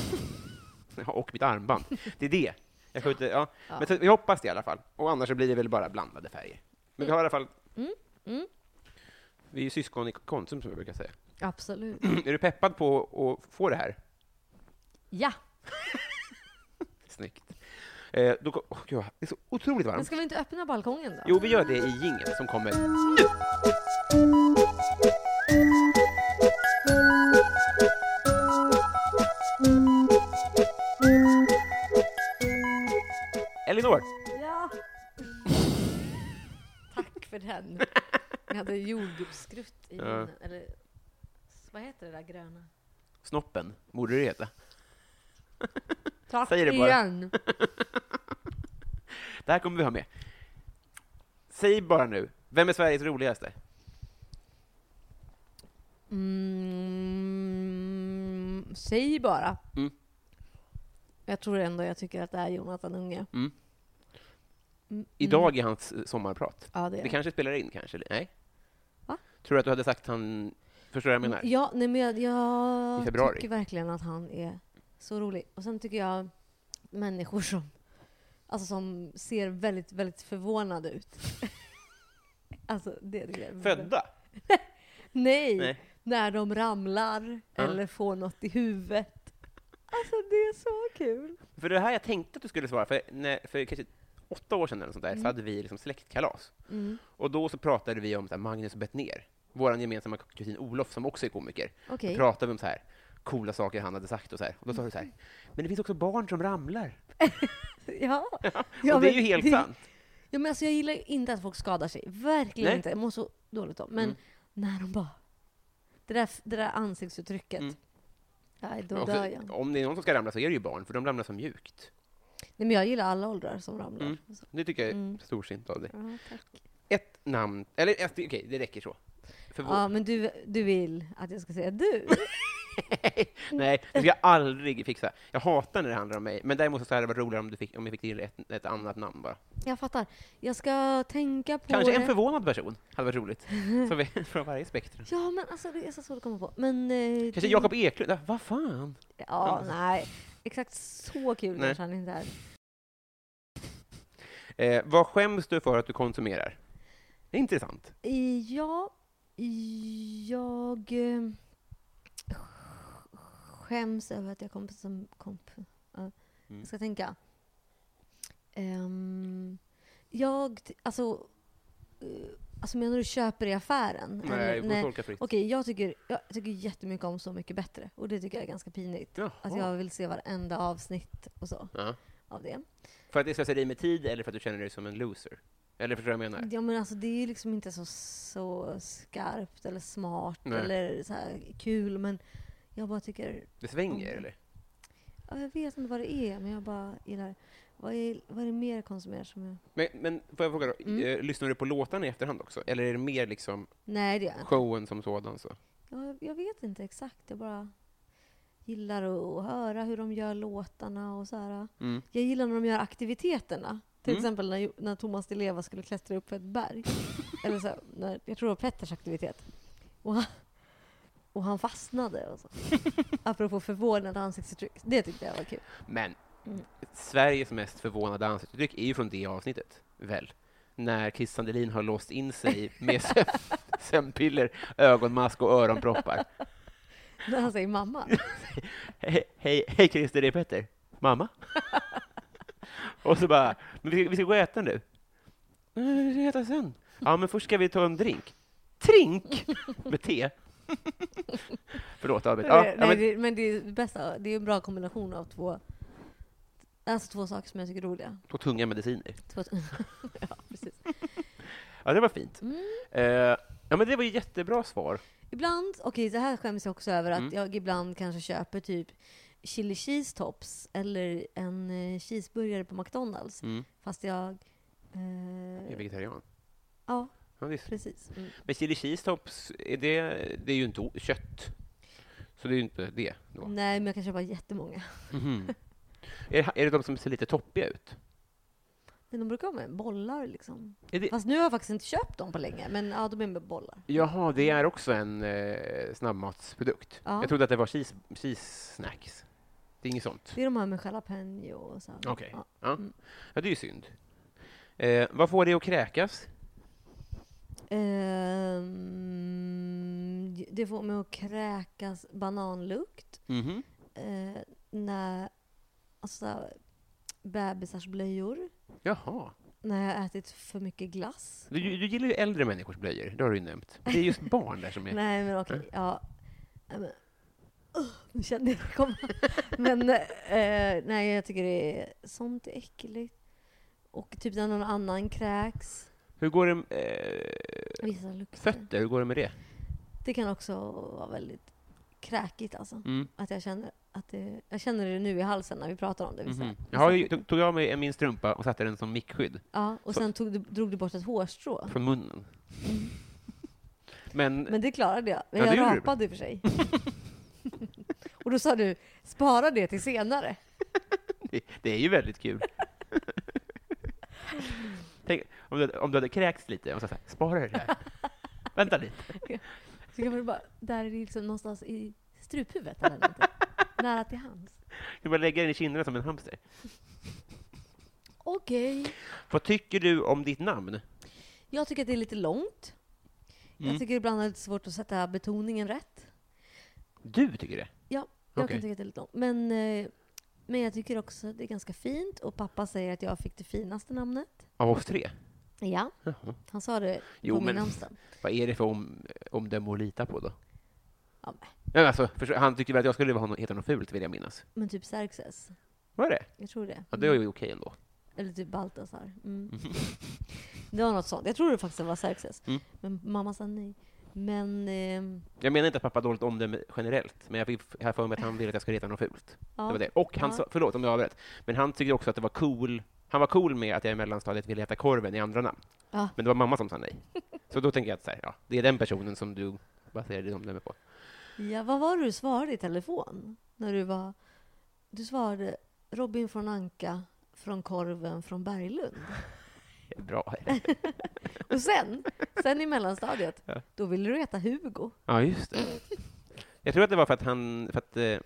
[SPEAKER 1] Ja, Och mitt armband. Det är det. Jag skjuter, ja.
[SPEAKER 2] Ja.
[SPEAKER 1] Men så, vi hoppas det i alla fall. Och annars så blir det väl bara blandade färger. Men vi har i alla fall...
[SPEAKER 2] Mm, mm.
[SPEAKER 1] Vi är ju syskon i Konsum, som jag brukar säga.
[SPEAKER 2] Absolut.
[SPEAKER 1] är du peppad på att få det här?
[SPEAKER 2] Ja!
[SPEAKER 1] Snyggt. Eh, då, ko- åh, gud, det är så otroligt
[SPEAKER 2] Men
[SPEAKER 1] varmt.
[SPEAKER 2] ska vi inte öppna balkongen då?
[SPEAKER 1] Jo, vi gör det i jingeln som kommer nu. Elinor,
[SPEAKER 2] Ja! Tack för den. Jag hade jordgubbsskrutt i
[SPEAKER 1] Ja.
[SPEAKER 2] munnen. Eller vad heter det där gröna?
[SPEAKER 1] snoppen, borde det heta.
[SPEAKER 2] Tack
[SPEAKER 1] Säg det bara.
[SPEAKER 2] igen!
[SPEAKER 1] Det här kommer vi ha med. Säg bara nu, vem är Sveriges roligaste?
[SPEAKER 2] Mm, säg bara.
[SPEAKER 1] Mm.
[SPEAKER 2] Jag tror ändå jag tycker att det är Jonathan Unge.
[SPEAKER 1] Mm.
[SPEAKER 2] Mm,
[SPEAKER 1] Idag är hans eh, sommarprat.
[SPEAKER 2] Ja, det är
[SPEAKER 1] Det kanske spelar in, kanske? Nej?
[SPEAKER 2] Va?
[SPEAKER 1] Tror du att du hade sagt han... Förstår du vad jag menar?
[SPEAKER 2] Ja, nej, men jag,
[SPEAKER 1] I
[SPEAKER 2] jag
[SPEAKER 1] februari.
[SPEAKER 2] tycker verkligen att han är så rolig. Och sen tycker jag människor som, alltså som ser väldigt, väldigt förvånade ut. alltså, det tycker jag är
[SPEAKER 1] Födda?
[SPEAKER 2] Nej!
[SPEAKER 1] Nej.
[SPEAKER 2] När de ramlar
[SPEAKER 1] Ja.
[SPEAKER 2] eller får något i huvudet. Alltså, det är så kul.
[SPEAKER 1] För det här jag tänkte att du skulle svara, för, när, för kanske åtta år sedan eller något sånt där, så hade vi liksom släktkalas.
[SPEAKER 2] Mm.
[SPEAKER 1] Och då så pratade vi om så här, Magnus Bettner, vår gemensamma kusin Olof, som också är komiker,
[SPEAKER 2] Okej. Mm.
[SPEAKER 1] pratade vi om så här coola saker han hade sagt och så här. Och då sa du så här, men det finns också barn som ramlar.
[SPEAKER 2] Ja.
[SPEAKER 1] och det är ju helt
[SPEAKER 2] sant.
[SPEAKER 1] sant.
[SPEAKER 2] Ja, men alltså, jag gillar ju inte att folk skadar sig. Verkligen
[SPEAKER 1] Nej.
[SPEAKER 2] inte. Jag mår så dåligt om. Men
[SPEAKER 1] Mm.
[SPEAKER 2] när de bara... Det där, det där ansiktsuttrycket.
[SPEAKER 1] Mm.
[SPEAKER 2] Nej, då
[SPEAKER 1] Men också,
[SPEAKER 2] dör jag.
[SPEAKER 1] om det är någon som ska ramla så är det ju barn, för de ramlar så mjukt.
[SPEAKER 2] Nej, men jag gillar alla åldrar som ramlar.
[SPEAKER 1] Mm.
[SPEAKER 2] Så,
[SPEAKER 1] Det tycker jag är
[SPEAKER 2] Mm.
[SPEAKER 1] storsint av dig.
[SPEAKER 2] ja, tack.
[SPEAKER 1] Ett namn, eller ett, okej, det räcker så. För vår,
[SPEAKER 2] ja, men du, du vill att jag ska säga du?
[SPEAKER 1] Nej, det ska jag aldrig fixa. Jag hatar när det handlar om mig, men däremot så hade det varit roligare om, du fick, om jag fick till ett, ett annat namn bara.
[SPEAKER 2] Jag fattar. Jag ska tänka på
[SPEAKER 1] Kanske en
[SPEAKER 2] det.
[SPEAKER 1] förvånad person hade varit roligt. Så vi, från varje spektrum.
[SPEAKER 2] Ja, men alltså det är så svårt att komma på. Men... eh,
[SPEAKER 1] Kanske
[SPEAKER 2] det-
[SPEAKER 1] Jakob Eklund? Ja, Vad fan?
[SPEAKER 2] Ja, nej. Exakt så kul
[SPEAKER 1] Nej.
[SPEAKER 2] kanske han inte är.
[SPEAKER 1] Eh, vad skäms du för att du konsumerar? Det är intressant.
[SPEAKER 2] Eh, Ja, jag eh, skäms över att jag kom som komp. Ja,
[SPEAKER 1] Mm.
[SPEAKER 2] Jag ska tänka. Ehm, jag, t- alltså, eh, alltså menar du köper i affären?
[SPEAKER 1] Nej,
[SPEAKER 2] Eller-
[SPEAKER 1] du får tolka fritt.
[SPEAKER 2] Okej, jag tycker, jag tycker jättemycket om Så mycket bättre. Och det tycker jag är ganska pinigt.
[SPEAKER 1] Jaha.
[SPEAKER 2] Att jag vill se varenda avsnitt och så
[SPEAKER 1] Ja.
[SPEAKER 2] av det.
[SPEAKER 1] För att det är slöseri med tid eller för att du känner dig som en loser? Eller förstår du vad jag menar?
[SPEAKER 2] Ja men alltså det är ju liksom inte så, så skarpt eller smart
[SPEAKER 1] Nej.
[SPEAKER 2] eller så här kul men jag bara tycker,
[SPEAKER 1] Det svänger,
[SPEAKER 2] Mm.
[SPEAKER 1] eller?
[SPEAKER 2] ja, jag vet inte vad det är men jag bara gillar vad är, vad är det mer jag konsumerar som jag...
[SPEAKER 1] Men, men får jag fråga då,
[SPEAKER 2] Mm.
[SPEAKER 1] eh, lyssnar du på låtarna i efterhand också? Eller är det mer liksom
[SPEAKER 2] Nej det gör jag inte.
[SPEAKER 1] showen som sådan? Så?
[SPEAKER 2] Jag, jag vet inte exakt, jag bara gillar att höra hur de gör låtarna och så här.
[SPEAKER 1] Mm.
[SPEAKER 2] Jag gillar när de gör aktiviteterna. Till
[SPEAKER 1] Mm.
[SPEAKER 2] exempel när, när Thomas Di Leva skulle klättra upp för ett berg. Eller så, när, jag tror det var Petters aktivitet. Och han, och han fastnade och så. Apropå förvånad ansiktsuttryck. Det tyckte jag var kul.
[SPEAKER 1] Men
[SPEAKER 2] Mm.
[SPEAKER 1] Sveriges mest förvånade ansiktsuttryck är ju från det avsnittet, väl? När Chris Sandelin har låst in sig med sömn- sömnpiller, ögonmask och öronproppar.
[SPEAKER 2] När han säger mamma.
[SPEAKER 1] Hej, hej, hej Christer, det är Petter. Mamma? och så bara, men vi, vi ska gå och äta nu. "Nej, Vi ska äta sen. Ja, men först ska vi ta en drink. Trink! Med te. Förlåt, Albert. Ja,
[SPEAKER 2] Nej,
[SPEAKER 1] ja, men,
[SPEAKER 2] det, men det är det bästa, det är en bra kombination av två Alltså två saker som jag tycker är roliga.
[SPEAKER 1] och tunga mediciner.
[SPEAKER 2] Två, ja, precis.
[SPEAKER 1] Ja, det var fint.
[SPEAKER 2] Mm.
[SPEAKER 1] Eh, ja, men det var ju jättebra svar.
[SPEAKER 2] Ibland, okej det här skäms jag också över, att
[SPEAKER 1] Mm.
[SPEAKER 2] jag ibland kanske köper typ chili cheese tops eller en eh, cheeseburgare på McDonalds.
[SPEAKER 1] Mm.
[SPEAKER 2] Fast jag...
[SPEAKER 1] Jag är
[SPEAKER 2] Eh,
[SPEAKER 1] vegetarian.
[SPEAKER 2] ja,
[SPEAKER 1] Ja, visst.
[SPEAKER 2] precis. Mm.
[SPEAKER 1] Men chili cheese tops, är det, det är ju inte o- kött. Så det är ju inte det. Då.
[SPEAKER 2] Nej, men jag kan köpa jättemånga.
[SPEAKER 1] Mhm. är, är det de som ser lite toppiga ut?
[SPEAKER 2] Men de brukar vara med bollar liksom.
[SPEAKER 1] Är det,
[SPEAKER 2] Fast nu har jag faktiskt inte köpt dem på länge, men ja, de är med bollar.
[SPEAKER 1] Jaha, det är också en eh, snabbmatsprodukt.
[SPEAKER 2] Ja.
[SPEAKER 1] Jag trodde att det var cheese, cheese snacks. Det är inget sånt.
[SPEAKER 2] Det är de här med jalapeno och så. här.
[SPEAKER 1] Okej.
[SPEAKER 2] Ja.
[SPEAKER 1] Ja.
[SPEAKER 2] Mm.
[SPEAKER 1] ja, det är ju synd. Eh, vad får dig att kräkas?
[SPEAKER 2] Ehm, det får mig att kräkas bananlukt.
[SPEAKER 1] Mhm.
[SPEAKER 2] eh, när, alltså, så här, bebisars blöjor,
[SPEAKER 1] Jaha.
[SPEAKER 2] när jag har ätit för mycket glass.
[SPEAKER 1] Du, du gillar ju äldre människors blöjor, det har du ju nämnt. Det är just barn där som är...
[SPEAKER 2] Nej men okej, ja. Nej, men, Ugh, nu kände jag det komma. men eh, nej, jag tycker det är, sånt är äckligt. Och typ när någon annan kräks.
[SPEAKER 1] Hur går det med eh,
[SPEAKER 2] Vissa lukter.
[SPEAKER 1] fötter? Hur går det med det?
[SPEAKER 2] Det kan också vara väldigt kräkigt alltså.
[SPEAKER 1] Mm.
[SPEAKER 2] Att jag känner att det, jag känner det nu i halsen när vi pratar om det. vissa-
[SPEAKER 1] Mhm.
[SPEAKER 2] vissa
[SPEAKER 1] Jag har ju,
[SPEAKER 2] saker.
[SPEAKER 1] tog- tog av mig min strumpa och satte den som mickskydd
[SPEAKER 2] Ja, och
[SPEAKER 1] Så-
[SPEAKER 2] sen tog du, drog du bort ett hårstrå.
[SPEAKER 1] från munnen. Men,
[SPEAKER 2] Men det klarade jag. Men
[SPEAKER 1] Ja, det gjorde
[SPEAKER 2] jag
[SPEAKER 1] du.
[SPEAKER 2] rapade i och för sig. och då sa du, spara det till senare.
[SPEAKER 1] det, det är ju väldigt kul. Tänk om du, om du hade kräkts lite och så här, spara det där. Vänta lite.
[SPEAKER 2] Så kan man bara, där är det liksom någonstans i struphuvudet eller någonting. Nära till hands.
[SPEAKER 1] Du bara lägga den i kinderna som en hamster.
[SPEAKER 2] Okej.
[SPEAKER 1] Vad tycker du om ditt namn?
[SPEAKER 2] Jag tycker att det är lite långt.
[SPEAKER 1] Mm.
[SPEAKER 2] Jag tycker ibland att det är lite svårt att sätta betoningen rätt.
[SPEAKER 1] Du tycker det?
[SPEAKER 2] Ja, jag
[SPEAKER 1] Okej.
[SPEAKER 2] kan tycka att det är lite långt. Men, eh, men jag tycker också att det är ganska fint. Och pappa säger att jag fick det finaste namnet.
[SPEAKER 1] Av oss tre?
[SPEAKER 2] Ja,
[SPEAKER 1] Jaha.
[SPEAKER 2] han sa det
[SPEAKER 1] Jo,
[SPEAKER 2] på min
[SPEAKER 1] men-
[SPEAKER 2] namnsdag.
[SPEAKER 1] Vad är det för om, omdöme att lita på då?
[SPEAKER 2] Ja, men-
[SPEAKER 1] Men alltså, förstå- han tyckte väl att jag skulle vara- heta något fult, vill jag minnas.
[SPEAKER 2] men typ Xerxes.
[SPEAKER 1] Var det?
[SPEAKER 2] Jag tror det.
[SPEAKER 1] Ja, det var ju okej ändå.
[SPEAKER 2] Eller typ Baltasar. Mm. Det var något sånt. Jag tror det faktiskt var Xerxes.
[SPEAKER 1] Mm.
[SPEAKER 2] Men mamma sa nej. Men, ehm,
[SPEAKER 1] Jag menar inte att pappa har dåligt omdöme generellt, men jag fick jag har för mig att han ville att jag skulle heta något fult.
[SPEAKER 2] ja.
[SPEAKER 1] Det var det. Och han
[SPEAKER 2] Ja.
[SPEAKER 1] sa, förlåt om jag avbröt, men han tyckte också att det var cool, han var cool med att jag i mellanstadiet ville heta Korven i andra namn.
[SPEAKER 2] Ja.
[SPEAKER 1] Men det var mamma som sa nej. Så då tänker jag att så här, ja, det är den personen som du baserar ditt omdöme på.
[SPEAKER 2] Ja, vad var det du svarade i telefon? När du var... Du svarade Robin från Anka, från Korven, från Berglund.
[SPEAKER 1] Bra.
[SPEAKER 2] Och sen, sen i mellanstadiet, då ville du heta Hugo.
[SPEAKER 1] Ja, just det. Jag tror att det var för att han, för att, eh,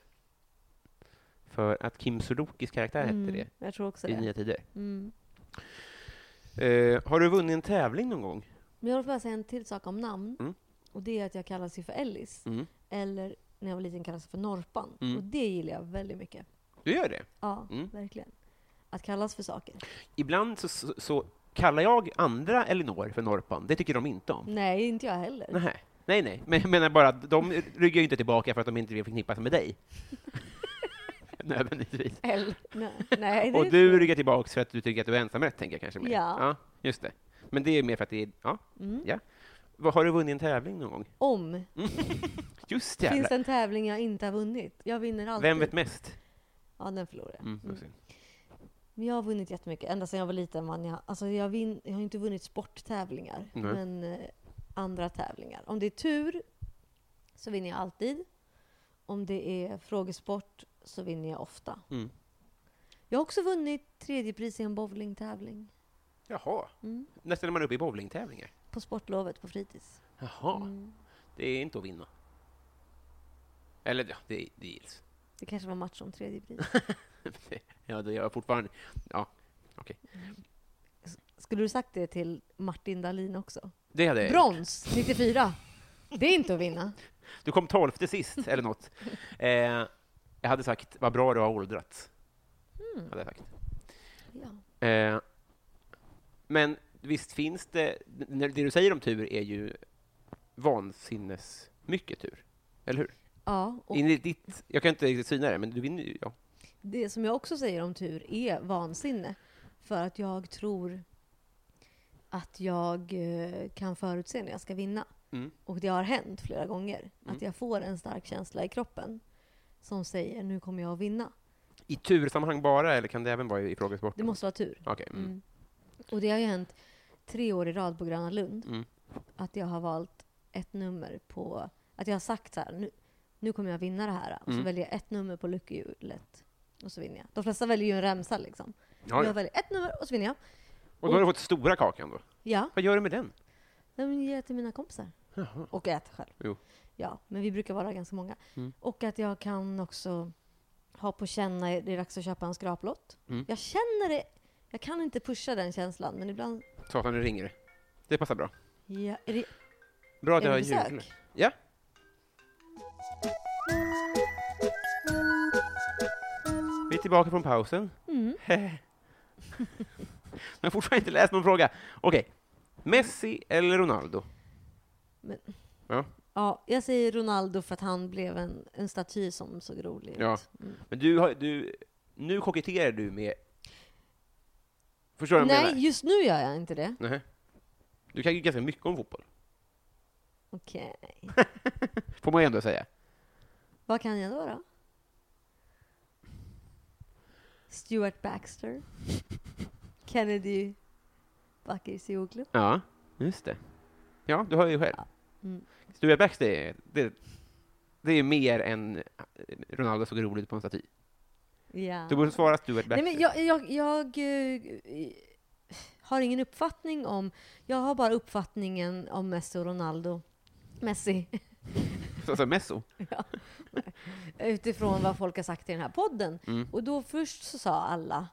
[SPEAKER 1] för att Kim Sulokis karaktär hette det
[SPEAKER 2] Mm. Jag tror också
[SPEAKER 1] i
[SPEAKER 2] det.
[SPEAKER 1] Nya Tider.
[SPEAKER 2] Mm.
[SPEAKER 1] Eh, har du vunnit en tävling någon gång?
[SPEAKER 2] Men jag vill bara säga en till sak om namn.
[SPEAKER 1] Mm.
[SPEAKER 2] Och det är att jag kallas ju för Ellis.
[SPEAKER 1] Mm.
[SPEAKER 2] Eller när jag var liten kallades jag för Norpan.
[SPEAKER 1] Mm.
[SPEAKER 2] Och det gillar jag väldigt mycket.
[SPEAKER 1] Du gör det?
[SPEAKER 2] Ja,
[SPEAKER 1] Mm.
[SPEAKER 2] verkligen. Att kallas för saker.
[SPEAKER 1] Ibland så, så, så kallar jag andra Elinor för Norpan. Det tycker de inte om.
[SPEAKER 2] Nej, inte jag heller.
[SPEAKER 1] Nej, nej, nej. men jag menar bara att de ryggar ju inte tillbaka för att de inte vill förknippas med dig. Nödvändigtvis.
[SPEAKER 2] Eller, nej, nej, det
[SPEAKER 1] Och
[SPEAKER 2] är-
[SPEAKER 1] du ryggar tillbaka för att du tycker att du är ensamrätt, tänker jag kanske mer.
[SPEAKER 2] Ja.
[SPEAKER 1] Just det. Men det är mer för att det är, ja.
[SPEAKER 2] Mm.
[SPEAKER 1] ja. Vad- Har du vunnit en tävling någon gång?
[SPEAKER 2] Om
[SPEAKER 1] Just
[SPEAKER 2] finns
[SPEAKER 1] jävlar.
[SPEAKER 2] det en tävling jag inte har vunnit. Jag vinner alltid.
[SPEAKER 1] Vem vet mest?
[SPEAKER 2] Ja, den förlorar jag.
[SPEAKER 1] Mm, vad
[SPEAKER 2] Mm.
[SPEAKER 1] synd.
[SPEAKER 2] Men jag har vunnit jättemycket. Ända sedan jag var liten vann jag. Alltså jag, vin, jag har inte vunnit sporttävlingar,
[SPEAKER 1] Nej.
[SPEAKER 2] men eh, andra tävlingar. Om det är tur så vinner jag alltid. Om det är frågesport så vinner jag ofta.
[SPEAKER 1] Mm.
[SPEAKER 2] Jag har också vunnit tredje pris i en bowlingtävling.
[SPEAKER 1] Jaha.
[SPEAKER 2] Mm.
[SPEAKER 1] När ställer man upp i bowlingtävlingar?
[SPEAKER 2] På sportlovet på fritids.
[SPEAKER 1] Jaha.
[SPEAKER 2] Mm.
[SPEAKER 1] Det är inte att vinna. Eller ja, det, det gills.
[SPEAKER 2] Det kanske var match om tredje pris.
[SPEAKER 1] ja, det gör jag fortfarande. Ja, okej.
[SPEAKER 2] Skulle du sagt det till Martin Dahlin också?
[SPEAKER 1] Det hade jag gjort.
[SPEAKER 2] Brons 94. Det är inte att vinna.
[SPEAKER 1] Du kom tolfte sist, eller något. Eh, jag hade sagt, vad bra du har åldrats.
[SPEAKER 2] Hmm.
[SPEAKER 1] Hade jag sagt.
[SPEAKER 2] Ja.
[SPEAKER 1] Eh, men visst finns det, när- det du säger om tur är ju vansinnes mycket tur. Eller hur?
[SPEAKER 2] ja och
[SPEAKER 1] In i ditt, jag kan inte riktigt syna det, men du vinner ju. Ja.
[SPEAKER 2] Det som jag också säger om tur är vansinne. För att jag tror att jag eh, kan förutse när jag ska vinna.
[SPEAKER 1] Mm.
[SPEAKER 2] Och det har hänt flera gånger.
[SPEAKER 1] Mm.
[SPEAKER 2] Att jag får en stark känsla i kroppen som säger nu kommer jag att vinna.
[SPEAKER 1] I tursammanhang bara, eller kan det även vara i frågesport?
[SPEAKER 2] Det måste vara tur.
[SPEAKER 1] Okej. mm.
[SPEAKER 2] Mm. Och det har ju hänt tre år i rad på Gröna Lund.
[SPEAKER 1] Mm.
[SPEAKER 2] Att jag har valt ett nummer på... Att jag har sagt så här, nu, nu kommer jag vinna det här. Och så
[SPEAKER 1] Mm.
[SPEAKER 2] väljer jag ett nummer på lyckohjulet. Och så vinner jag. De flesta väljer ju en remsa liksom.
[SPEAKER 1] Ja,
[SPEAKER 2] Jag
[SPEAKER 1] ja.
[SPEAKER 2] väljer ett nummer och så vinner jag.
[SPEAKER 1] Och då har du fått stora kakan då.
[SPEAKER 2] Ja,
[SPEAKER 1] Vad gör du med den?
[SPEAKER 2] den ger jag till mina kompisar.
[SPEAKER 1] Jaha.
[SPEAKER 2] Och äter själv.
[SPEAKER 1] Jo.
[SPEAKER 2] Ja, men vi brukar vara ganska många.
[SPEAKER 1] Mm.
[SPEAKER 2] Och att jag kan också ha på känna, det är dags att köpa en skraplott.
[SPEAKER 1] Mm.
[SPEAKER 2] Jag känner det, jag kan inte pusha den känslan, men ibland...
[SPEAKER 1] Satan, nu ringer det. Det passar bra.
[SPEAKER 2] Ja, är det,
[SPEAKER 1] Bra att
[SPEAKER 2] är
[SPEAKER 1] jag har
[SPEAKER 2] det
[SPEAKER 1] julklapp.
[SPEAKER 2] besök?
[SPEAKER 1] Ja. Vi är tillbaka från pausen.
[SPEAKER 2] Mm.
[SPEAKER 1] Jag har fortfarande inte läst någon fråga. Okej. Messi eller Ronaldo?
[SPEAKER 2] Ja, jag säger Ronaldo för att han blev en, en staty som såg rolig
[SPEAKER 1] Ja.
[SPEAKER 2] ut. Mm.
[SPEAKER 1] Men du har, du, nu koketterar du med... Förstår du vad jag
[SPEAKER 2] Nej,
[SPEAKER 1] menar?
[SPEAKER 2] just nu gör jag inte det.
[SPEAKER 1] Nej. Du kan ju ganska mycket om fotboll.
[SPEAKER 2] Okej.
[SPEAKER 1] Får man ju ändå säga.
[SPEAKER 2] Vad kan jag då då? Stuart Baxter. Kennedy Bakircioglu.
[SPEAKER 1] Ja, just det. Ja, du hör ju själv.
[SPEAKER 2] Mm.
[SPEAKER 1] Stuart Baxter, är- det, det är mer än eh, Ronaldo såg rolig ut på en staty.
[SPEAKER 2] Ja.
[SPEAKER 1] Du borde svara Stuart Baxter.
[SPEAKER 2] Nej, men jag, jag, jag eh, har ingen uppfattning om... Jag har bara uppfattningen om Messi och Ronaldo. Messi.
[SPEAKER 1] Alltså Messo.
[SPEAKER 2] Utifrån vad folk har sagt i den här podden.
[SPEAKER 1] Mm.
[SPEAKER 2] Och då först så sa alla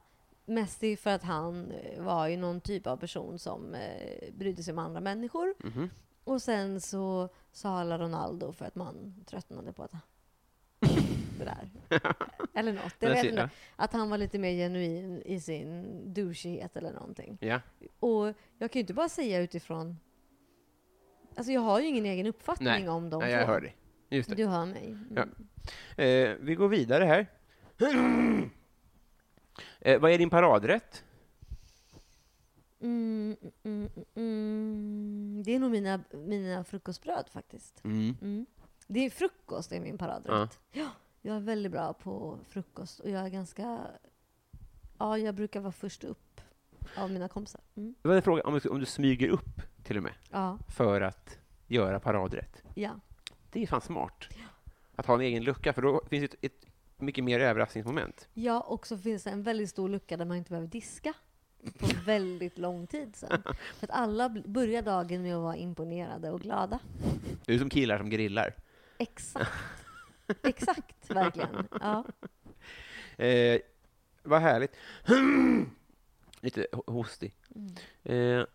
[SPEAKER 2] Messi för att han eh, var ju någon typ av person som eh, brydde sig om andra människor.
[SPEAKER 1] Mhm.
[SPEAKER 2] Och sen så sa alla Ronaldo för att man tröttnade på att det där. Eller något. Jag
[SPEAKER 1] Där
[SPEAKER 2] vet
[SPEAKER 1] ser
[SPEAKER 2] inte.
[SPEAKER 1] jag.
[SPEAKER 2] Att han var lite mer genuin i sin douchighet eller någonting.
[SPEAKER 1] Ja.
[SPEAKER 2] Och jag kan ju inte bara säga utifrån... Alltså jag har ju ingen egen uppfattning
[SPEAKER 1] Nej.
[SPEAKER 2] om dem
[SPEAKER 1] Nej, jag
[SPEAKER 2] två.
[SPEAKER 1] hör dig. Just det.
[SPEAKER 2] Du hör mig. Mm.
[SPEAKER 1] Ja. Eh, vi går vidare här. eh, vad är din paradrätt?
[SPEAKER 2] Mm, mm, mm, mm. Det är nog mina, mina frukostbröd faktiskt. Mm. Det är frukost, det är min paradrätt. Ja, jag är väldigt bra på frukost och jag är ganska... Ja, jag brukar vara först upp av mina kompisar. Mm.
[SPEAKER 1] Det var en fråga om du, om du smyger upp till och med
[SPEAKER 2] Ja,
[SPEAKER 1] för att göra paradrätt.
[SPEAKER 2] ja.
[SPEAKER 1] Det är fan smart. Att ha en egen lucka, för då finns det ett, ett mycket mer överraskningsmoment.
[SPEAKER 2] Ja, och så finns det en väldigt stor lucka där man inte behöver diska på väldigt lång tid sen. För att alla bl- börjar dagen med att vara imponerade och glada.
[SPEAKER 1] Du är som killar som grillar.
[SPEAKER 2] Exakt. Exakt, verkligen. Ja.
[SPEAKER 1] Eh, vad härligt. Lite ho- hostig.
[SPEAKER 2] Mm.
[SPEAKER 1] Eh,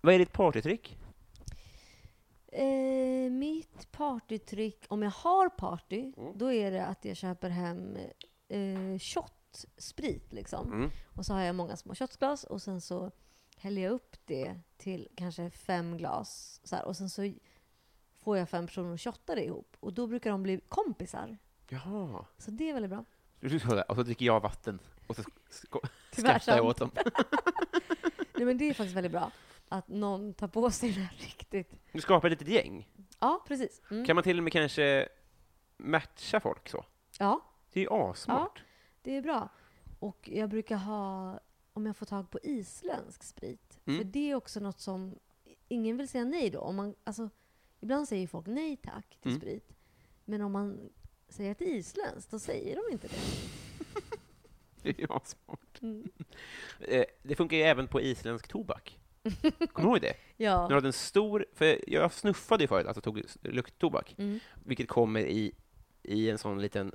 [SPEAKER 1] vad är ditt partytrick?
[SPEAKER 2] Eh, mitt partytrick, om jag har party,
[SPEAKER 1] Mm.
[SPEAKER 2] då är det att jag köper hem eh, shot, sprit liksom.
[SPEAKER 1] Mm.
[SPEAKER 2] Och så har jag många små shotsglas och sen så häller jag upp det till kanske fem glas. Så här, och sen så får jag fem personer att shotta det ihop. Och då brukar de bli kompisar.
[SPEAKER 1] Jaha.
[SPEAKER 2] Så det är väldigt bra.
[SPEAKER 1] Du ska hålla- Och så dricker jag vatten. Och så sk- sk-
[SPEAKER 2] Tyvärr
[SPEAKER 1] skrattar jag åt
[SPEAKER 2] sant.
[SPEAKER 1] dem.
[SPEAKER 2] Nej men det är faktiskt väldigt bra. Att någon tar på sig det här riktigt.
[SPEAKER 1] Du skapar ett litet gäng.
[SPEAKER 2] Ja, precis. Mm.
[SPEAKER 1] Kan man till och med kanske matcha folk så?
[SPEAKER 2] Ja,
[SPEAKER 1] Det är ju assmart.
[SPEAKER 2] Det är bra. Och jag brukar ha, om jag får tag på isländsk sprit,
[SPEAKER 1] Mm.
[SPEAKER 2] för det är också något som ingen vill säga nej då. Om man, alltså, ibland säger folk nej tack till
[SPEAKER 1] Mm.
[SPEAKER 2] sprit, men om man säger att det är isländskt, då säger de inte det.
[SPEAKER 1] Det är ju assmart.
[SPEAKER 2] Mm.
[SPEAKER 1] Eh, Det funkar ju även på isländsk tobak. Kommer du ihåg det? När du
[SPEAKER 2] Ja.
[SPEAKER 1] hade en stor... För jag snuffade ju förut, alltså tog lukttobak,
[SPEAKER 2] Mm.
[SPEAKER 1] vilket kommer i, i en sån liten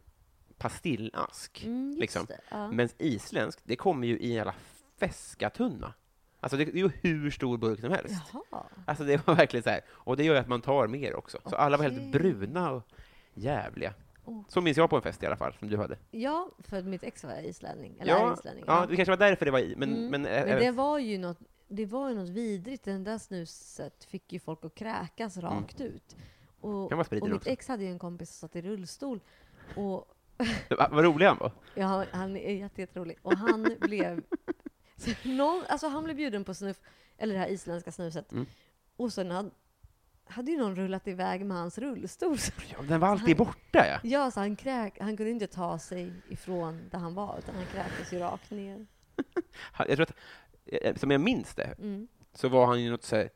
[SPEAKER 1] pastillask.
[SPEAKER 2] Mm, just
[SPEAKER 1] liksom.
[SPEAKER 2] det. Ja.
[SPEAKER 1] Men isländskt, det kommer ju i en jävla feskatunna. Alltså det, det är ju hur stor burk som helst.
[SPEAKER 2] Jaha.
[SPEAKER 1] Alltså det var verkligen så här. Och det gör ju att man tar mer också. Så alla var helt
[SPEAKER 2] Okej.
[SPEAKER 1] bruna och jävliga.
[SPEAKER 2] Okej.
[SPEAKER 1] Så minns jag på en fest i alla fall, som du hade.
[SPEAKER 2] Ja, för mitt ex var islänning. Eller är islänning.
[SPEAKER 1] ja, det kanske var därför det var i, men...
[SPEAKER 2] Mm.
[SPEAKER 1] Men, eh, ä-
[SPEAKER 2] Men
[SPEAKER 1] även-
[SPEAKER 2] det var ju något, det var ju något vidrigt. Den där snuset fick ju folk att kräkas rakt ut. Och,
[SPEAKER 1] Mm. Kan vara spriten
[SPEAKER 2] och mitt
[SPEAKER 1] också.
[SPEAKER 2] ex hade ju en kompis som satt i rullstol. Och,
[SPEAKER 1] Va- eh, Vad rolig han var.
[SPEAKER 2] ja, han- han är jätte- jätterolig. Och han blev... Så någon, alltså han blev bjuden på snuff, eller det här isländska snuset.
[SPEAKER 1] Mm.
[SPEAKER 2] Och sen hade, hade ju någon rullat iväg med hans rullstol. Så,
[SPEAKER 1] Ja, den var alltid borta, ja.
[SPEAKER 2] ja, så han, kräk, han kunde inte ta sig ifrån där han var, utan han kräktes ju rakt ner.
[SPEAKER 1] Han- Jag tror att, eh, som jag minns det,
[SPEAKER 2] Mm.
[SPEAKER 1] så var han ju något, så här,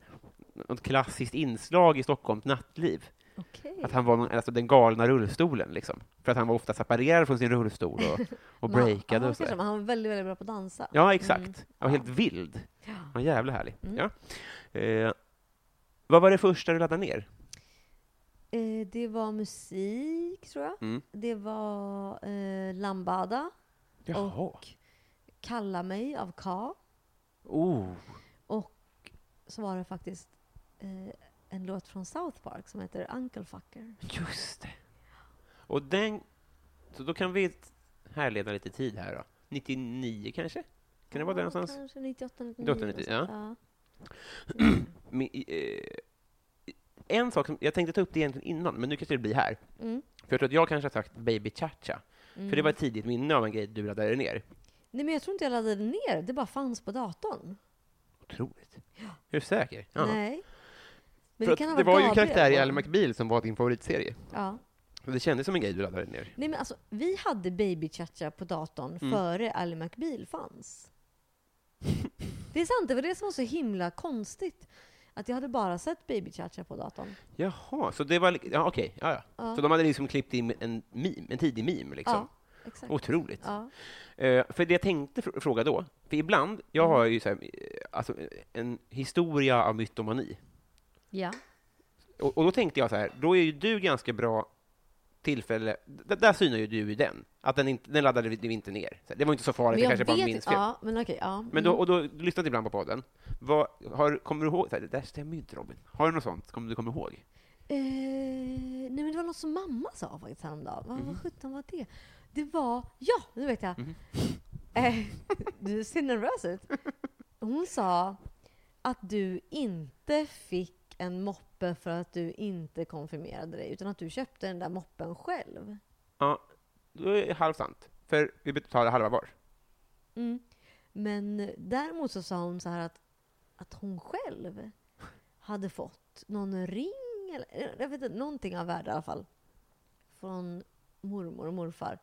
[SPEAKER 1] något klassiskt inslag i Stockholms nattliv.
[SPEAKER 2] Okej.
[SPEAKER 1] Att han var någon, alltså den galna rullstolen, liksom. För att han var ofta separerad från sin rullstol och, och
[SPEAKER 2] Men han-
[SPEAKER 1] breakade
[SPEAKER 2] ja,
[SPEAKER 1] och så.
[SPEAKER 2] kanske,
[SPEAKER 1] där.
[SPEAKER 2] men Han var väldigt, väldigt bra på att dansa.
[SPEAKER 1] Ja, exakt.
[SPEAKER 2] Mm.
[SPEAKER 1] Han var
[SPEAKER 2] Ja.
[SPEAKER 1] helt vild.
[SPEAKER 2] Ja.
[SPEAKER 1] Han var jävla härlig.
[SPEAKER 2] Mm.
[SPEAKER 1] Ja. Eh, vad var det första du laddade ner?
[SPEAKER 2] Eh, det var musik, tror jag.
[SPEAKER 1] Mm.
[SPEAKER 2] Det var eh, Lambada, Och- Kalla mig av Ka.
[SPEAKER 1] Oh.
[SPEAKER 2] Och så var det faktiskt eh, en låt från South Park som heter Uncle Fucker.
[SPEAKER 1] Just det. Och den... Så då kan vi härleda lite tid här då. 99 kanske? Kan det vara där
[SPEAKER 2] Ja,
[SPEAKER 1] någonstans?
[SPEAKER 2] Kanske 98, 99.
[SPEAKER 1] 98, 90, ja.
[SPEAKER 2] någonstans.
[SPEAKER 1] Men, eh, en sak som jag tänkte ta upp det egentligen innan, men nu kanske det blir här.
[SPEAKER 2] Ja. Mm.
[SPEAKER 1] För jag tror att jag kanske har sagt Baby Cha-Cha,
[SPEAKER 2] Mm.
[SPEAKER 1] för det var ett tidigt minne av en grej du laddade ner.
[SPEAKER 2] Nej, men jag tror inte jag laddade ner det. bara fanns på datorn.
[SPEAKER 1] Otroligt. Är du säker? Ja.
[SPEAKER 2] Nej.
[SPEAKER 1] För
[SPEAKER 2] Men det
[SPEAKER 1] att
[SPEAKER 2] kan ha
[SPEAKER 1] det
[SPEAKER 2] varit
[SPEAKER 1] var ju en
[SPEAKER 2] Gabriel
[SPEAKER 1] karaktär i
[SPEAKER 2] då.
[SPEAKER 1] Ally McBeal som var din favoritserie.
[SPEAKER 2] Ja.
[SPEAKER 1] Och det kändes som en grej du laddade ner.
[SPEAKER 2] Nej men alltså, vi hade Baby Cha-Cha på datorn
[SPEAKER 1] Mm.
[SPEAKER 2] före Ally McBeal fanns. det är sant, det var det som var så himla konstigt. Att jag hade bara sett Baby Cha-Cha på datorn.
[SPEAKER 1] Jaha, så det var... li- Ja, okej. Ja, ja.
[SPEAKER 2] Ja,
[SPEAKER 1] Så de hade liksom klippt in en, meme, en tidig meme, liksom.
[SPEAKER 2] ja exakt.
[SPEAKER 1] Otroligt.
[SPEAKER 2] Ja.
[SPEAKER 1] Eh, för det jag tänkte fr- fråga då, för ibland, jag har ju så här, eh, alltså, eh, en historia av mytomani.
[SPEAKER 2] ja.
[SPEAKER 1] Och, och då tänkte jag så här, då är ju du ganska bra tillfälle, d- där synar ju du i den, att den, inte, den laddade vi inte ner. Så här, Det var inte så farligt, det kanske bara minns fel.
[SPEAKER 2] Ja, men okej. Ja.
[SPEAKER 1] Men då,
[SPEAKER 2] Mm.
[SPEAKER 1] och då du lyssnade ibland på podden. Vad, har, kommer du ihåg? Så här, det där stämmer ju inte Robin. Har du något sånt som du kommer ihåg?
[SPEAKER 2] Eh, nej men det var något som mamma sa faktiskt häromdagen. Vad, vad sjutton var det? Det var, ja nu vet jag. Eh, du ser nervös ut. Hon sa att du inte fick en moppe för att du inte konfirmerade dig, utan att du köpte den där moppen själv.
[SPEAKER 1] Ja, då är det halvt sant. För vi betalar halva var.
[SPEAKER 2] Mm. Men däremot så sa hon så här att, att hon själv hade fått någon ring, eller jag vet inte, någonting av värde i alla fall, från mormor och morfar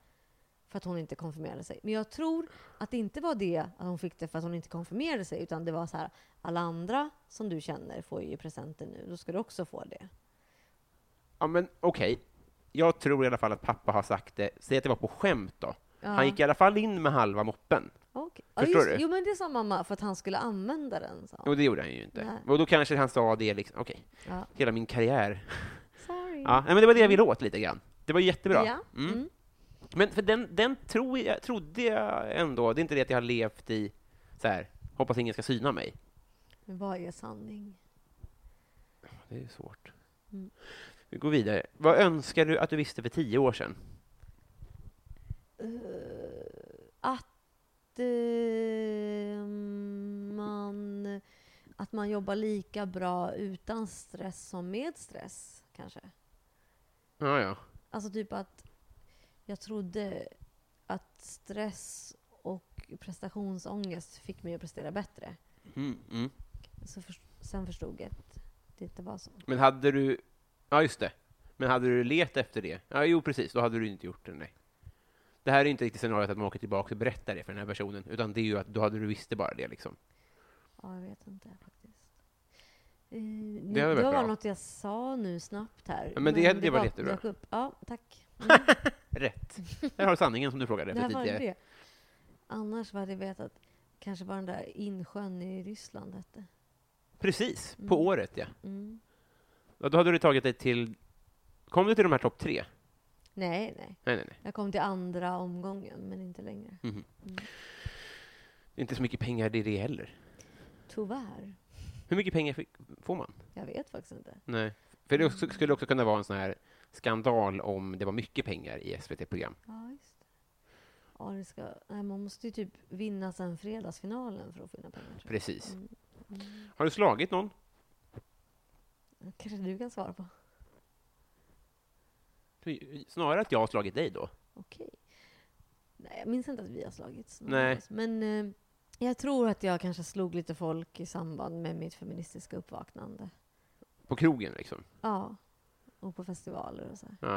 [SPEAKER 2] för att hon inte konfirmerade sig. Men jag tror att det inte var det att hon fick det för att hon inte konfirmerade sig, utan det var så här, alla andra som du känner får ju presenter nu, då ska du också få det.
[SPEAKER 1] Ja, men okej. Jag tror i alla fall att pappa har sagt det. Säg att det var på skämt då. Han gick i alla fall in med halva moppen.
[SPEAKER 2] Okej. Ja,
[SPEAKER 1] Förstår
[SPEAKER 2] just-
[SPEAKER 1] du?
[SPEAKER 2] Jo men det sa mamma, för att han skulle använda den sa hon.
[SPEAKER 1] Och det gjorde han ju inte.
[SPEAKER 2] Nej.
[SPEAKER 1] Och då kanske han sa det liksom, okej,
[SPEAKER 2] Ja.
[SPEAKER 1] hela min karriär.
[SPEAKER 2] Sorry.
[SPEAKER 1] Ja, nej, men det var det jag ville åt lite grann. Det var jättebra.
[SPEAKER 2] Mm. Ja.
[SPEAKER 1] Mm.
[SPEAKER 2] Mm.
[SPEAKER 1] Men för den, den tror jag, trodde jag ändå, det är inte det att jag har levt i så här, hoppas ingen ska syna mig.
[SPEAKER 2] Men Vad är sanning?
[SPEAKER 1] Det är ju svårt.
[SPEAKER 2] Mm.
[SPEAKER 1] Vi går vidare. Vad önskar du att du visste för tio år sedan?
[SPEAKER 2] Eh, att eh, man att man jobbar lika bra utan stress som med stress, kanske.
[SPEAKER 1] Ja, ja.
[SPEAKER 2] Alltså typ att jag trodde att stress och prestationsångest fick mig att prestera bättre.
[SPEAKER 1] Mm, mm.
[SPEAKER 2] Så förs- sen förstod jag att det inte var så.
[SPEAKER 1] Men hade du... Ja, just det. Men hade du letat efter det? Ja, jo, precis. Då hade du inte gjort det, nej. Det här är inte riktigt scenariot att man åker tillbaka och berättar det för den här personen, utan det är ju att då hade du visste bara det, liksom.
[SPEAKER 2] Ja, jag vet inte faktiskt. Eh,
[SPEAKER 1] hade
[SPEAKER 2] det
[SPEAKER 1] varit
[SPEAKER 2] var
[SPEAKER 1] bra.
[SPEAKER 2] bara något jag sa nu snabbt här.
[SPEAKER 1] Ja, men det- det var
[SPEAKER 2] bara
[SPEAKER 1] jättebra.
[SPEAKER 2] dök upp. Ja, tack. Mm.
[SPEAKER 1] Rätt. Där har du sanningen som du frågade
[SPEAKER 2] Det
[SPEAKER 1] efter
[SPEAKER 2] här var
[SPEAKER 1] tidigare.
[SPEAKER 2] det. Annars hade jag vetat kanske vad den där insjön i Ryssland hette.
[SPEAKER 1] Precis, på
[SPEAKER 2] Mm.
[SPEAKER 1] året, ja.
[SPEAKER 2] Mm.
[SPEAKER 1] ja. Då hade du tagit dig till... Kom du till de här topp tre?
[SPEAKER 2] Nej, nej.
[SPEAKER 1] Nej, nej, nej.
[SPEAKER 2] Jag kom till andra omgången, men inte längre.
[SPEAKER 1] Mhm. Det är inte så mycket pengar det är det heller.
[SPEAKER 2] Tyvärr.
[SPEAKER 1] Hur mycket pengar fick, får man?
[SPEAKER 2] Jag vet faktiskt inte.
[SPEAKER 1] Nej. För det också, skulle också kunna vara en sån här skandal om det var mycket pengar i SVT-program.
[SPEAKER 2] Ja, just det. Ja, det ska... nej, man måste ju typ vinna sen fredagsfinalen för att finna pengar. tror jag.
[SPEAKER 1] Precis. Har du slagit någon?
[SPEAKER 2] kanske du kan svara på.
[SPEAKER 1] Snarare att jag har slagit dig då.
[SPEAKER 2] Okej. Nej, jag minns inte att vi har slagits. någon
[SPEAKER 1] Nej.
[SPEAKER 2] av oss. Men eh, jag tror att jag kanske slog lite folk i samband med mitt feministiska uppvaknande.
[SPEAKER 1] På krogen liksom.
[SPEAKER 2] Ja. Och på festivaler och så. här.
[SPEAKER 1] Ja.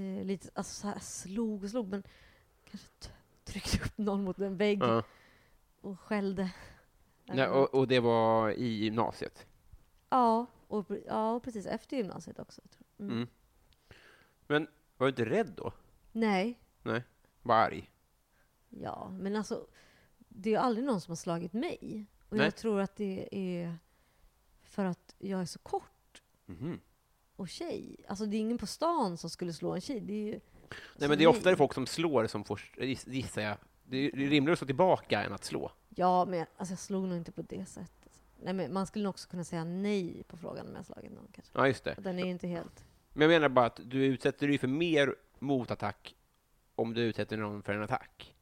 [SPEAKER 2] Eh, lite, alltså så här, slog och slog, men kanske t- tryckte upp någon mot en vägg
[SPEAKER 1] Ja.
[SPEAKER 2] och skällde.
[SPEAKER 1] Nej, och, och det var i gymnasiet.
[SPEAKER 2] ja, och, pre- ja, och precis efter gymnasiet också. Tror jag. Mm.
[SPEAKER 1] Mm. Men var du inte rädd då?
[SPEAKER 2] Nej,
[SPEAKER 1] Var arg?
[SPEAKER 2] ja, men alltså det är ju aldrig någon som har slagit mig. Och
[SPEAKER 1] Nej.
[SPEAKER 2] jag tror att det är för att jag är så kort
[SPEAKER 1] Mhm.
[SPEAKER 2] och tjej. Alltså det är ingen på stan som skulle slå en tjej. Det är ju
[SPEAKER 1] Nej,
[SPEAKER 2] som
[SPEAKER 1] men det är
[SPEAKER 2] mig.
[SPEAKER 1] oftare folk som slår som får, giss- gissar jag. Det är det är rimligare att slå tillbaka än att slå.
[SPEAKER 2] Ja, men jag, alltså jag slog nog inte på det sättet. Nej, men man skulle nog också kunna säga nej på frågan om jag slagit någon kanske.
[SPEAKER 1] Ja, just det.
[SPEAKER 2] Och Den är ju inte helt...
[SPEAKER 1] Men jag menar bara att du utsätter dig för mer motattack om du utsätter någon för en attack.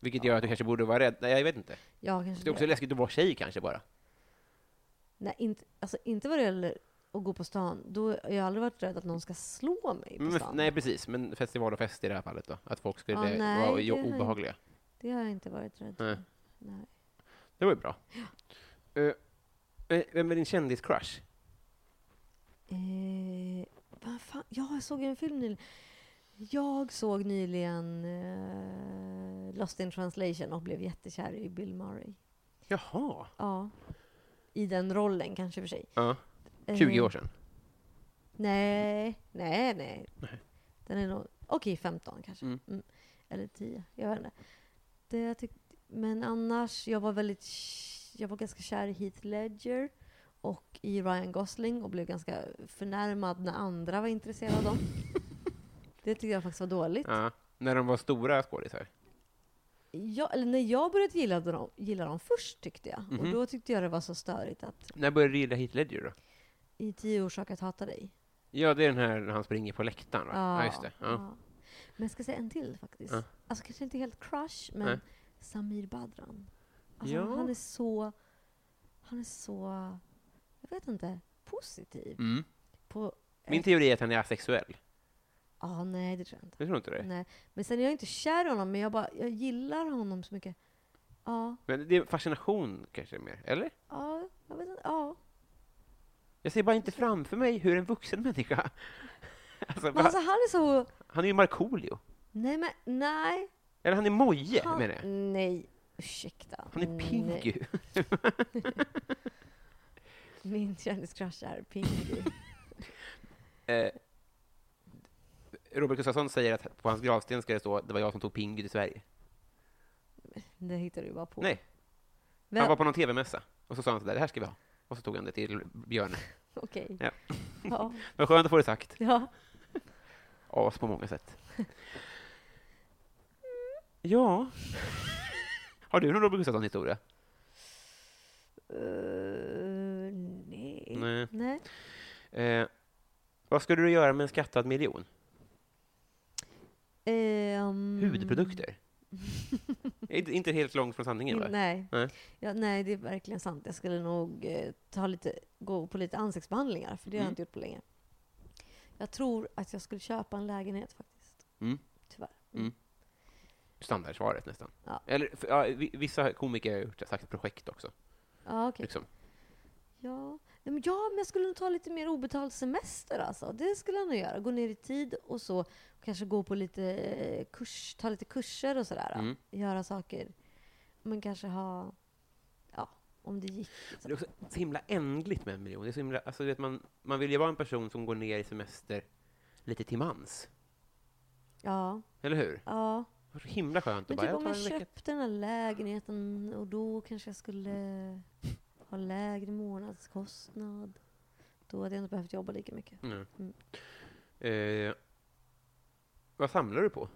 [SPEAKER 1] Vilket gör att du kanske borde vara rädd. Nej, jag vet inte.
[SPEAKER 2] Ja,
[SPEAKER 1] Det
[SPEAKER 2] kanske
[SPEAKER 1] är också läskigt att vara tjej kanske bara.
[SPEAKER 2] Nej, inte, alltså, inte vad det gäller att gå på stan. Då har jag aldrig varit rädd att någon ska slå mig på
[SPEAKER 1] Men,
[SPEAKER 2] stan.
[SPEAKER 1] Mm, nej, precis. Men festival och fest i det här fallet då? Att folk skulle
[SPEAKER 2] Ja, nej,
[SPEAKER 1] vara
[SPEAKER 2] det har
[SPEAKER 1] jo-
[SPEAKER 2] jag inte.
[SPEAKER 1] obehagliga.
[SPEAKER 2] Det har jag inte varit rädd
[SPEAKER 1] Nej.
[SPEAKER 2] för. Nej.
[SPEAKER 1] Det var ju bra. Eh, eh, vem är din kändiscrush?
[SPEAKER 2] Eh, vad fan? Ja, jag såg en film nyligen. Jag såg nyligen eh, Lost in translation och blev jättekär i Bill Murray.
[SPEAKER 1] Jaha.
[SPEAKER 2] Ja. I den rollen kanske i och för sig.
[SPEAKER 1] Ja,
[SPEAKER 2] Eh,
[SPEAKER 1] 20 år sedan.
[SPEAKER 2] Nej, nej, nej.
[SPEAKER 1] Nej.
[SPEAKER 2] Den är nog... Okej, 15 kanske.
[SPEAKER 1] Mm.
[SPEAKER 2] Mm. Eller 10, jag vet inte. Det jag tyck, men annars, jag var väldigt... k- Jag var ganska kär i Heath Ledger och i Ryan Gosling och blev ganska förnärmad när andra var intresserade av dem. Det tyckte jag faktiskt var dåligt.
[SPEAKER 1] Ja. När de var stora skådisar.
[SPEAKER 2] Jag, eller när jag började gilla dem, gilla dem först tyckte jag.
[SPEAKER 1] Mhm.
[SPEAKER 2] Och då tyckte jag det var så störigt att
[SPEAKER 1] När började du gilla Heath Ledger då?
[SPEAKER 2] I tio orsaker att hata dig.
[SPEAKER 1] Ja, det är den här när han springer på läktaren, va? Ja, just det. Ja.
[SPEAKER 2] ja. Mm. Men jag ska säga en till faktiskt.
[SPEAKER 1] Ja.
[SPEAKER 2] Alltså kanske inte helt crush, men
[SPEAKER 1] Nej.
[SPEAKER 2] Samir Badran. Alltså,
[SPEAKER 1] Ja.
[SPEAKER 2] Han är så... Han är så... Jag vet inte. Positiv.
[SPEAKER 1] Mm.
[SPEAKER 2] På,
[SPEAKER 1] Min teori är att han är asexuell.
[SPEAKER 2] ah, nej, det tror jag inte.
[SPEAKER 1] Jag tror inte det.
[SPEAKER 2] Nej. Men sen är jag inte kär i honom, men jag, bara, jag gillar honom så mycket. Ja,
[SPEAKER 1] Men det är fascination kanske mer, eller?
[SPEAKER 2] ja, jag vet inte. Ja.
[SPEAKER 1] Jag ser bara inte framför mig hur en vuxen människa... Alltså,
[SPEAKER 2] Men
[SPEAKER 1] va?
[SPEAKER 2] alltså han är så...
[SPEAKER 1] Han är ju Markoolio.
[SPEAKER 2] Nej, men nej.
[SPEAKER 1] Eller han är Moje,
[SPEAKER 2] Han,
[SPEAKER 1] menar jag.
[SPEAKER 2] nej, ursäkta.
[SPEAKER 1] Han är
[SPEAKER 2] Nej.
[SPEAKER 1] Pingu.
[SPEAKER 2] Min kändiscrush är Pinky.
[SPEAKER 1] Eh, Robert Gustafsson säger att på hans gravsten ska det stå det var jag som tog Pingu till Sverige.
[SPEAKER 2] det hittar du bara på.
[SPEAKER 1] Nej,
[SPEAKER 2] Vem?
[SPEAKER 1] han var på någon TV-mässa och så sa han sådär, det här ska vi ha. Och så tog han det till Björn.
[SPEAKER 2] Okej.
[SPEAKER 1] Ja.
[SPEAKER 2] ja.
[SPEAKER 1] Men skönt att få det sagt.
[SPEAKER 2] ja.
[SPEAKER 1] As på många sätt. Ja. Har du någon Robert Gustafsson-historia?
[SPEAKER 2] Eh, nej.
[SPEAKER 1] Nej.
[SPEAKER 2] Nej.
[SPEAKER 1] Eh, vad skulle du göra med en skattad miljon?
[SPEAKER 2] Ehm,
[SPEAKER 1] Hudprodukter? Inte- Inte helt långt från sanningen, va?
[SPEAKER 2] Nej.
[SPEAKER 1] Nej.
[SPEAKER 2] Ja, nej, det är verkligen sant. Jag skulle nog eh, ta lite, gå på lite ansiktsbehandlingar, för det har
[SPEAKER 1] Mm.
[SPEAKER 2] jag inte gjort på länge. Jag tror att jag skulle köpa en lägenhet faktiskt.
[SPEAKER 1] Mm.
[SPEAKER 2] Tyvärr.
[SPEAKER 1] Mm. Standardsvaret nästan.
[SPEAKER 2] Ja.
[SPEAKER 1] Eller, för, ja, vi- vissa komiker har gjort sagt projekt också.
[SPEAKER 2] Ja, okej.
[SPEAKER 1] Liksom.
[SPEAKER 2] Ja. Nej, men ja, men jag skulle nog ta lite mer obetald semester alltså. Det skulle jag nog göra. Gå ner i tid och så. kanske gå på lite eh, kurs, ta lite kurser och sådär.
[SPEAKER 1] Mm.
[SPEAKER 2] Göra saker. Men kanske ha, ja, om det gick.
[SPEAKER 1] Det är också så himla ändligt med en miljon. Det är så himla, alltså, du vet, man, man vill ju vara en person som går ner i semester lite till mans.
[SPEAKER 2] Ja,
[SPEAKER 1] Eller hur?
[SPEAKER 2] ja.
[SPEAKER 1] Det var så himla skönt att
[SPEAKER 2] Men
[SPEAKER 1] bara,
[SPEAKER 2] typ
[SPEAKER 1] jag
[SPEAKER 2] om
[SPEAKER 1] tar
[SPEAKER 2] jag
[SPEAKER 1] en vecka.
[SPEAKER 2] köpte den här lägenheten och då kanske jag skulle ha lägre månadskostnad. Då hade jag inte behövt jobba lika mycket.
[SPEAKER 1] Mm.
[SPEAKER 2] Mm.
[SPEAKER 1] Eh, vad samlar du på?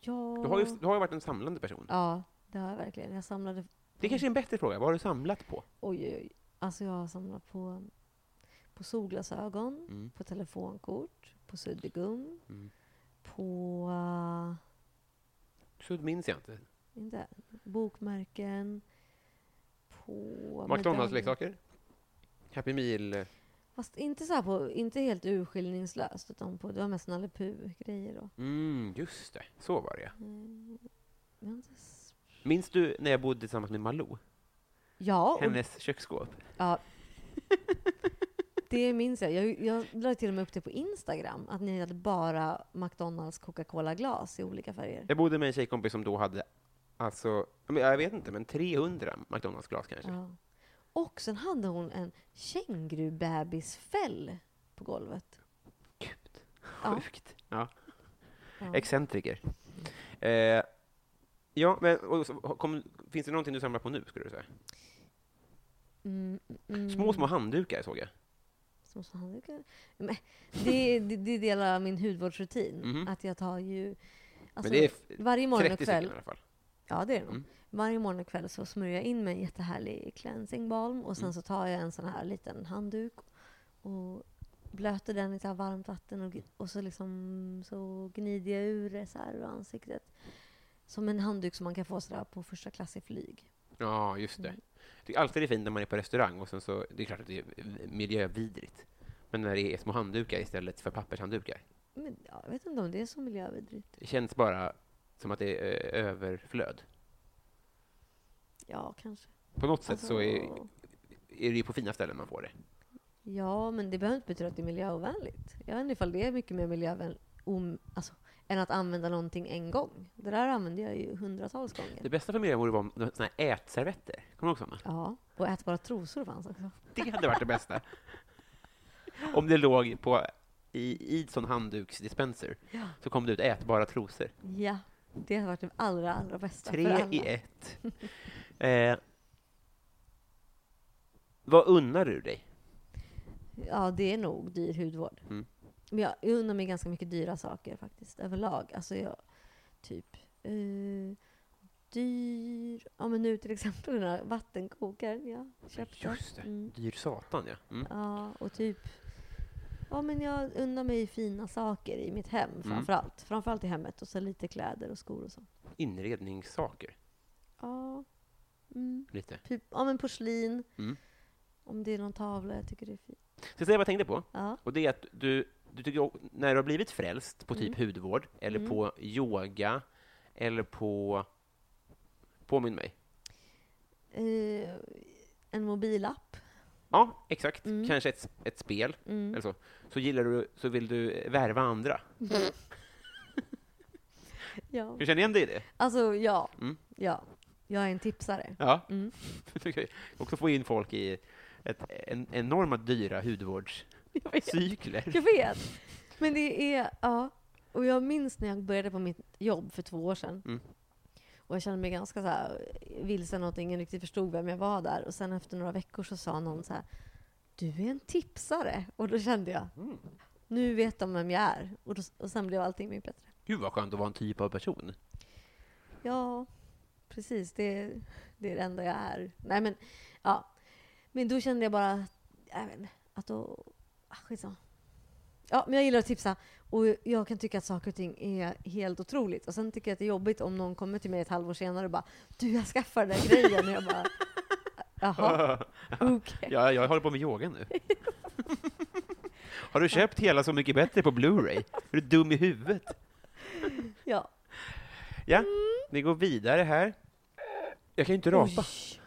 [SPEAKER 2] Ja,
[SPEAKER 1] Du har, ju, du har ju varit en samlande person.
[SPEAKER 2] ja det har jag verkligen. Jag samlade
[SPEAKER 1] Det kanske är en bättre fråga. Vad har du samlat på?
[SPEAKER 2] Oj, oj, oj. Alltså jag har samlat på, på solglasögon,
[SPEAKER 1] Mm.
[SPEAKER 2] på telefonkort, på suddgum,
[SPEAKER 1] Mm.
[SPEAKER 2] på eh,
[SPEAKER 1] Så minns jag inte.
[SPEAKER 2] inte, bokmärken, på... medaljer.
[SPEAKER 1] McDonalds-leksaker? Happy Meal? eh,
[SPEAKER 2] Fast inte, så här på, inte helt urskiljningslöst, utan på, det var mest Nalle grejer då.
[SPEAKER 1] Mm, just det. Så var det ja.
[SPEAKER 2] Eh, men det s-
[SPEAKER 1] Minns du när jag bodde tillsammans med Malou?
[SPEAKER 2] Ja, och,
[SPEAKER 1] Hennes köksskåp?
[SPEAKER 2] ja. Det minns jag. jag. Jag la till och med upp det på Instagram, att ni hade bara McDonalds Coca-Cola-glas i olika färger.
[SPEAKER 1] Jag bodde med en tjejkompis som då hade, alltså, ja, men jag vet inte, men 300 McDonalds-glas kanske.
[SPEAKER 2] Ja. Och sen hade hon en kängurubebisfäll på golvet.
[SPEAKER 1] Gud,
[SPEAKER 2] Ja.
[SPEAKER 1] sjukt. Ja.
[SPEAKER 2] Ja.
[SPEAKER 1] Excentriker. Eh, ja, men och, så, kom, finns det någonting du samlar på nu, skulle du säga?
[SPEAKER 2] Mm, mm,
[SPEAKER 1] Små, små handdukar såg jag.
[SPEAKER 2] små, små handdukar. Men det, det, det är del av min hudvårdsrutin.
[SPEAKER 1] Mhm.
[SPEAKER 2] Att jag tar ju...
[SPEAKER 1] men
[SPEAKER 2] Alltså,
[SPEAKER 1] det är f-
[SPEAKER 2] varje morgon och
[SPEAKER 1] 30 stycken i
[SPEAKER 2] kväll.
[SPEAKER 1] alla fall.
[SPEAKER 2] Ja, det är det nog.
[SPEAKER 1] Mm.
[SPEAKER 2] Varje morgon och kväll så smörjer jag in med en jättehärlig cleansing balm och sen
[SPEAKER 1] Mm.
[SPEAKER 2] så tar jag en sån här liten handduk och blöter den i så här varmt vatten och, och så liksom så gnider jag ur det så här ur ansiktet. Som en handduk som man kan få sådär på första klass i flyg.
[SPEAKER 1] Ja, just det.
[SPEAKER 2] Mm.
[SPEAKER 1] Det är alltid det är fint när man är på restaurang och sen så, det är klart att det är miljövidrigt. Men när det är små handdukar istället för pappershanddukar.
[SPEAKER 2] Men ja, jag vet inte om det är så miljövidrigt.
[SPEAKER 1] Det känns bara som att det är eh, överflöd.
[SPEAKER 2] Ja, kanske.
[SPEAKER 1] På något sätt så är,
[SPEAKER 2] Alltså,
[SPEAKER 1] är det ju på fina ställen man får det.
[SPEAKER 2] Ja, men det behöver inte betyda att det är miljöovänligt. Jag vet inte ifall det är mycket mer miljövänligt om, alltså, än att använda någonting en gång. Det där använder jag ju hundratals gånger.
[SPEAKER 1] Det bästa för miljön vore om såna här ätservetter. Kommer du ihåg sådana?
[SPEAKER 2] Ja, och ätbara trosor fanns också.
[SPEAKER 1] Det hade varit det bästa. Om det låg på, i, i sån handduksdispenser
[SPEAKER 2] Ja.
[SPEAKER 1] så kom det ut ätbara trosor.
[SPEAKER 2] Ja, det har varit det allra, allra bästa
[SPEAKER 1] Tre
[SPEAKER 2] för alla.
[SPEAKER 1] i ett. Eh, vad unnar du dig?
[SPEAKER 2] Ja, det är nog dyr hudvård.
[SPEAKER 1] Mm.
[SPEAKER 2] Men jag unnar mig ganska mycket dyra saker faktiskt, överlag. Alltså jag, typ, eh, dyr Ja, men nu till exempel den här vattenkokaren jag köpte.
[SPEAKER 1] Just det.
[SPEAKER 2] Mm.
[SPEAKER 1] Dyr satan, ja. Mm.
[SPEAKER 2] Ja, och typ... Ja, men jag undrar mig fina saker i mitt
[SPEAKER 1] Mm.
[SPEAKER 2] hem framförallt. Framförallt i hemmet och så lite kläder och skor och så.
[SPEAKER 1] Inredningssaker,
[SPEAKER 2] Ja, mm.
[SPEAKER 1] lite.
[SPEAKER 2] typ, ja men porslin.
[SPEAKER 1] Mm.
[SPEAKER 2] Om det är någon tavla jag tycker det är fint.
[SPEAKER 1] Så säga vad jag tänkte på.
[SPEAKER 2] Ja,
[SPEAKER 1] Och det är att du, du tycker, o- när du har blivit frälst på
[SPEAKER 2] Mm.
[SPEAKER 1] typ hudvård, eller på yoga, eller på... Påminn mig.
[SPEAKER 2] eh, en mobilapp.
[SPEAKER 1] Ja, exakt.
[SPEAKER 2] Mm.
[SPEAKER 1] Kanske ett, s- ett spel,
[SPEAKER 2] Mm.
[SPEAKER 1] eller så. Så gillar du, så vill du eh, värva andra.
[SPEAKER 2] Ja.
[SPEAKER 1] Du känner igen dig i det?
[SPEAKER 2] Alltså, ja.
[SPEAKER 1] Mm.
[SPEAKER 2] ja. Jag är en tipsare.
[SPEAKER 1] Ja.
[SPEAKER 2] Mm.
[SPEAKER 1] Okej. Också få in folk i ett, en, enorma dyra hudvårdscykler.
[SPEAKER 2] Jag vet. Jag vet. Men det är, ja. Och jag minns när jag började på mitt jobb för två år sedan.
[SPEAKER 1] Mm.
[SPEAKER 2] Och jag kände mig ganska så här vilsen och att ingen riktigt förstod vem jag var där. Och sen efter några veckor så sa någon så här, du är en tipsare. Och då kände jag, nu vet de vem jag är. Och, då, och sen blev allting mycket bättre.
[SPEAKER 1] Gud vad skönt att vara en typ av person.
[SPEAKER 2] Ja, precis. Det, det är det enda jag är. Nej, men, ja. men då kände jag bara jag vet inte, att då... Ah, skitsamma. Ja, men jag gillar att tipsa och jag kan tycka att saker och ting är helt otroligt. Och sen tycker jag att det är jobbigt om någon kommer till mig ett halvår senare och bara ”du, jag skaffar den där grejen” och jag bara ”jaha, okej”.
[SPEAKER 1] Ja, jag håller på med yoga nu. Har du köpt hela Så mycket bättre på Blu-ray? Är du dum i huvudet?
[SPEAKER 2] Ja.
[SPEAKER 1] Ja, vi går vidare här. Mm. Jag kan ju inte rapa.
[SPEAKER 2] Oj.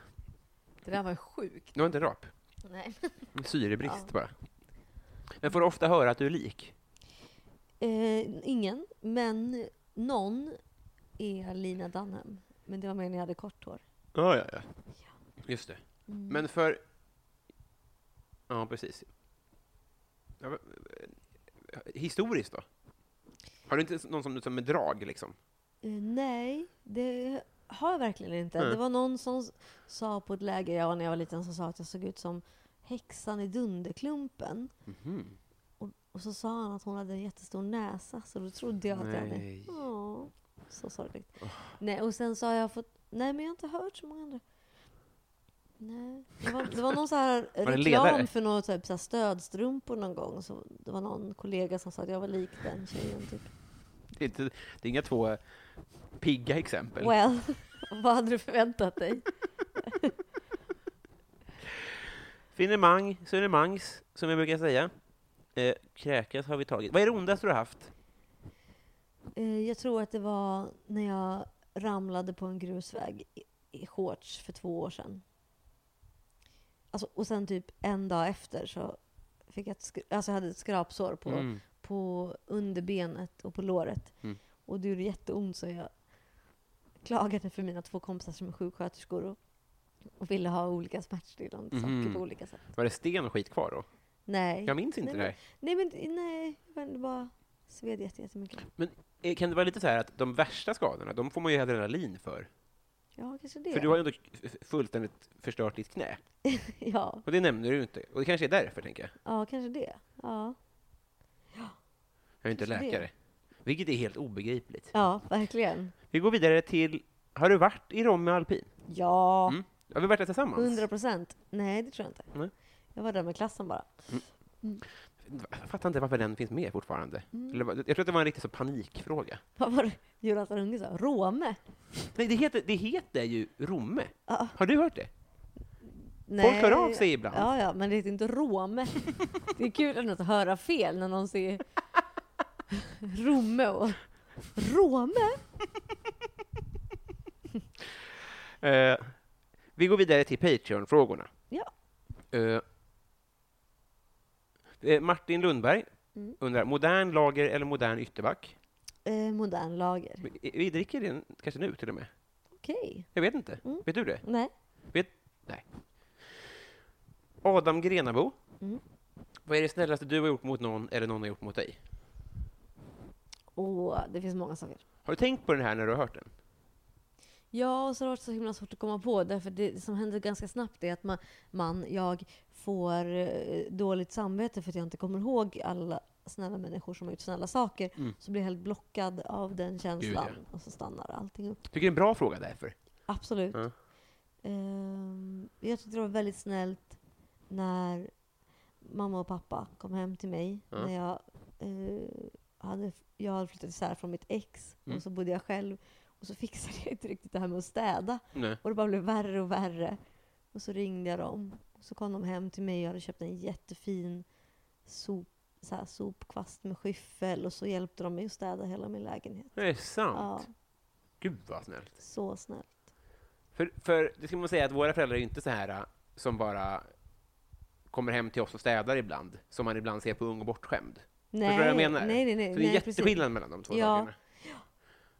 [SPEAKER 2] Det där var ju sjukt.
[SPEAKER 1] Du har inte rap.
[SPEAKER 2] Nej.
[SPEAKER 1] Syrebrist
[SPEAKER 2] Ja.
[SPEAKER 1] bara. Men får du ofta höra att du är lik?
[SPEAKER 2] Eh, ingen, men någon är Lina Dunham. Men det var mer när jag hade kort hår.
[SPEAKER 1] Ja, ja, ja. Just det.
[SPEAKER 2] Mm.
[SPEAKER 1] Men för... Ja, precis. Ja, men, eh, Historiskt då? Har du inte någon som, som är drag, liksom?
[SPEAKER 2] Eh, Nej, det har jag verkligen inte.
[SPEAKER 1] Nej.
[SPEAKER 2] Det var någon som s- sa på ett läger jag var när jag var liten som sa att jag såg ut som häxan i Dunderklumpen. Mhm. Och, och så sa han att hon hade en jättestor näsa, så då trodde jag att jag hade...
[SPEAKER 1] Nej.
[SPEAKER 2] Åh, så sorgligt. Nej, och sen så har jag fått... Nej, men jag har inte hört så många andra. Nej. Det var, det var någon så här
[SPEAKER 1] det en ledare?
[SPEAKER 2] reklam för något typ, så här stödstrumpor någon gång. Så det var någon kollega som sa att jag var lik den tjejen. Typ.
[SPEAKER 1] Det är, inte, det är inga två pigga exempel.
[SPEAKER 2] Well, vad hade du förväntat dig?
[SPEAKER 1] Finemang, sunemangs, som jag brukar säga. Eh, kräkas har vi tagit. Vad är det ondaste du har haft?
[SPEAKER 2] Eh, Jag tror att det var när jag ramlade på en grusväg i- i shorts för två år sedan. Alltså, och sen typ en dag efter så fick jag ett, skr- alltså jag hade ett skrapsår på, på underbenet och på låret.
[SPEAKER 1] Mm.
[SPEAKER 2] Och det gjorde jätteont så jag klagade för mina två kompisar som är sjuksköterskor och, och ville ha olika smärtstillande
[SPEAKER 1] Mhm.
[SPEAKER 2] saker på olika sätt.
[SPEAKER 1] Var det sten och skit kvar då?
[SPEAKER 2] Nej.
[SPEAKER 1] Jag minns inte
[SPEAKER 2] Nej,
[SPEAKER 1] det här.
[SPEAKER 2] Nej, men nej, men det bara sved jätte- jättemycket.
[SPEAKER 1] Eh, Kan det vara lite så här att de värsta skadorna, de får man ju adrenalin för?
[SPEAKER 2] Ja, kanske det.
[SPEAKER 1] För du har ju ändå f- fullständigt förstört ditt knä.
[SPEAKER 2] ja,
[SPEAKER 1] Och det nämner du ju inte. Och det kanske är därför, tänker jag.
[SPEAKER 2] ja, kanske det. Ja,
[SPEAKER 1] Jag är ju inte
[SPEAKER 2] Kanske det.
[SPEAKER 1] läkare. Vilket är helt obegripligt.
[SPEAKER 2] ja verkligen.
[SPEAKER 1] Vi går vidare till, har du varit i Romme alpin?
[SPEAKER 2] Ja,
[SPEAKER 1] Mm. Har vi varit där tillsammans?
[SPEAKER 2] hundra procent. Nej, det tror jag inte.
[SPEAKER 1] Nej.
[SPEAKER 2] Jag var där med klassen bara.
[SPEAKER 1] Jag fattar inte varför den finns med fortfarande.
[SPEAKER 2] Mm.
[SPEAKER 1] Eller, vad- jag tror att det var en riktig så panikfråga.
[SPEAKER 2] Vad var det Jonathan Unge sa? Råme?
[SPEAKER 1] Nej, det heter, det heter ju Romme.
[SPEAKER 2] Ja.
[SPEAKER 1] Har du hört det?
[SPEAKER 2] Nej.
[SPEAKER 1] hör av sig ibland.
[SPEAKER 2] Ja, ja, men det heter inte Råme. det är kul ändå att höra fel när någon säger Romme och Råme?
[SPEAKER 1] Eh, vi går vidare till Patreon-frågorna.
[SPEAKER 2] Ja.
[SPEAKER 1] Eh, eh, Martin Lundberg
[SPEAKER 2] Mm.
[SPEAKER 1] undrar, modern lager eller modern ytterback?
[SPEAKER 2] Eh, modern lager.
[SPEAKER 1] Vi, vi dricker den kanske nu till och med.
[SPEAKER 2] Okej.
[SPEAKER 1] Jag vet inte.
[SPEAKER 2] Mm.
[SPEAKER 1] Vet du det?
[SPEAKER 2] Nej.
[SPEAKER 1] Vet, nej. Adam Grenabo.
[SPEAKER 2] Mm.
[SPEAKER 1] Vad är det snällaste du har gjort mot någon eller någon har gjort mot dig?
[SPEAKER 2] Åh, det finns många saker.
[SPEAKER 1] Har du tänkt på den här när du har hört den?
[SPEAKER 2] Ja, och så har det varit så himla svårt att komma på. Därför det som händer ganska snabbt är att man, man jag får eh, dåligt samvete för att jag inte kommer ihåg alla snälla människor som har gjort snälla saker. Så blir jag helt blockad av den känslan.
[SPEAKER 1] Mm. Gud,
[SPEAKER 2] Och så stannar allting upp.
[SPEAKER 1] Tycker det är en bra fråga därför.
[SPEAKER 2] Absolut.
[SPEAKER 1] Ja.
[SPEAKER 2] Ehm, jag tyckte det var väldigt snällt när mamma och pappa kom hem till mig.
[SPEAKER 1] Ja.
[SPEAKER 2] När jag, eh, hade, jag hade flyttat isär från mitt ex
[SPEAKER 1] Mm.
[SPEAKER 2] och så bodde jag själv. Och så fixade jag inte riktigt det här med att städa.
[SPEAKER 1] Nej.
[SPEAKER 2] Och det bara blev värre och värre. Och så ringde jag dem. Och så kom de hem till mig och jag hade köpt en jättefin sop, så här sopkvast med skyffel. Och så hjälpte de mig att städa hela min lägenhet.
[SPEAKER 1] Det är sant.
[SPEAKER 2] Ja,
[SPEAKER 1] Gud vad snällt.
[SPEAKER 2] så snällt.
[SPEAKER 1] För, för det ska man säga att våra föräldrar är inte så här äh, som bara kommer hem till oss och städar ibland, som man ibland ser på Ung och bortskämd.
[SPEAKER 2] Nej,
[SPEAKER 1] vad jag menar?
[SPEAKER 2] Nej, nej, nej.
[SPEAKER 1] Så det är
[SPEAKER 2] nej, precis.
[SPEAKER 1] jätteskillnad mellan de två
[SPEAKER 2] Ja.
[SPEAKER 1] sakerna.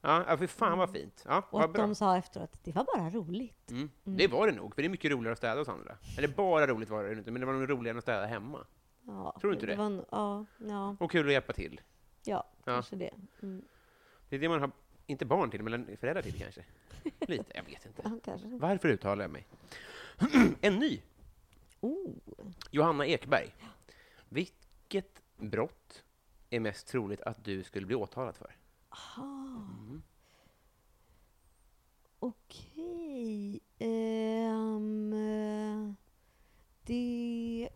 [SPEAKER 1] Ja, ja, för fan vad fint. Ja,
[SPEAKER 2] Och
[SPEAKER 1] vad
[SPEAKER 2] att
[SPEAKER 1] bra.
[SPEAKER 2] de sa efteråt att det var bara roligt.
[SPEAKER 1] Mm. Det var det nog, för det är mycket roligare att städa hos andra. Eller bara roligt var det inte, men det var nog roligare än att städa hemma.
[SPEAKER 2] Ja,
[SPEAKER 1] Tror du inte det?
[SPEAKER 2] Var, en- ja, ja,
[SPEAKER 1] Och kul att hjälpa till.
[SPEAKER 2] ja,
[SPEAKER 1] Ja.
[SPEAKER 2] kanske det. Mm,
[SPEAKER 1] Det är det man har, inte barn till, men föräldrar till kanske. Lite, jag vet inte.
[SPEAKER 2] ja, kanske.
[SPEAKER 1] Varför uttalar jag mig? en ny!
[SPEAKER 2] Oh,
[SPEAKER 1] Johanna Ekberg. Vilket brott är mest troligt att du skulle bli åtalad för?
[SPEAKER 2] aha.
[SPEAKER 1] Mm.
[SPEAKER 2] Okej. Ehm, eh, det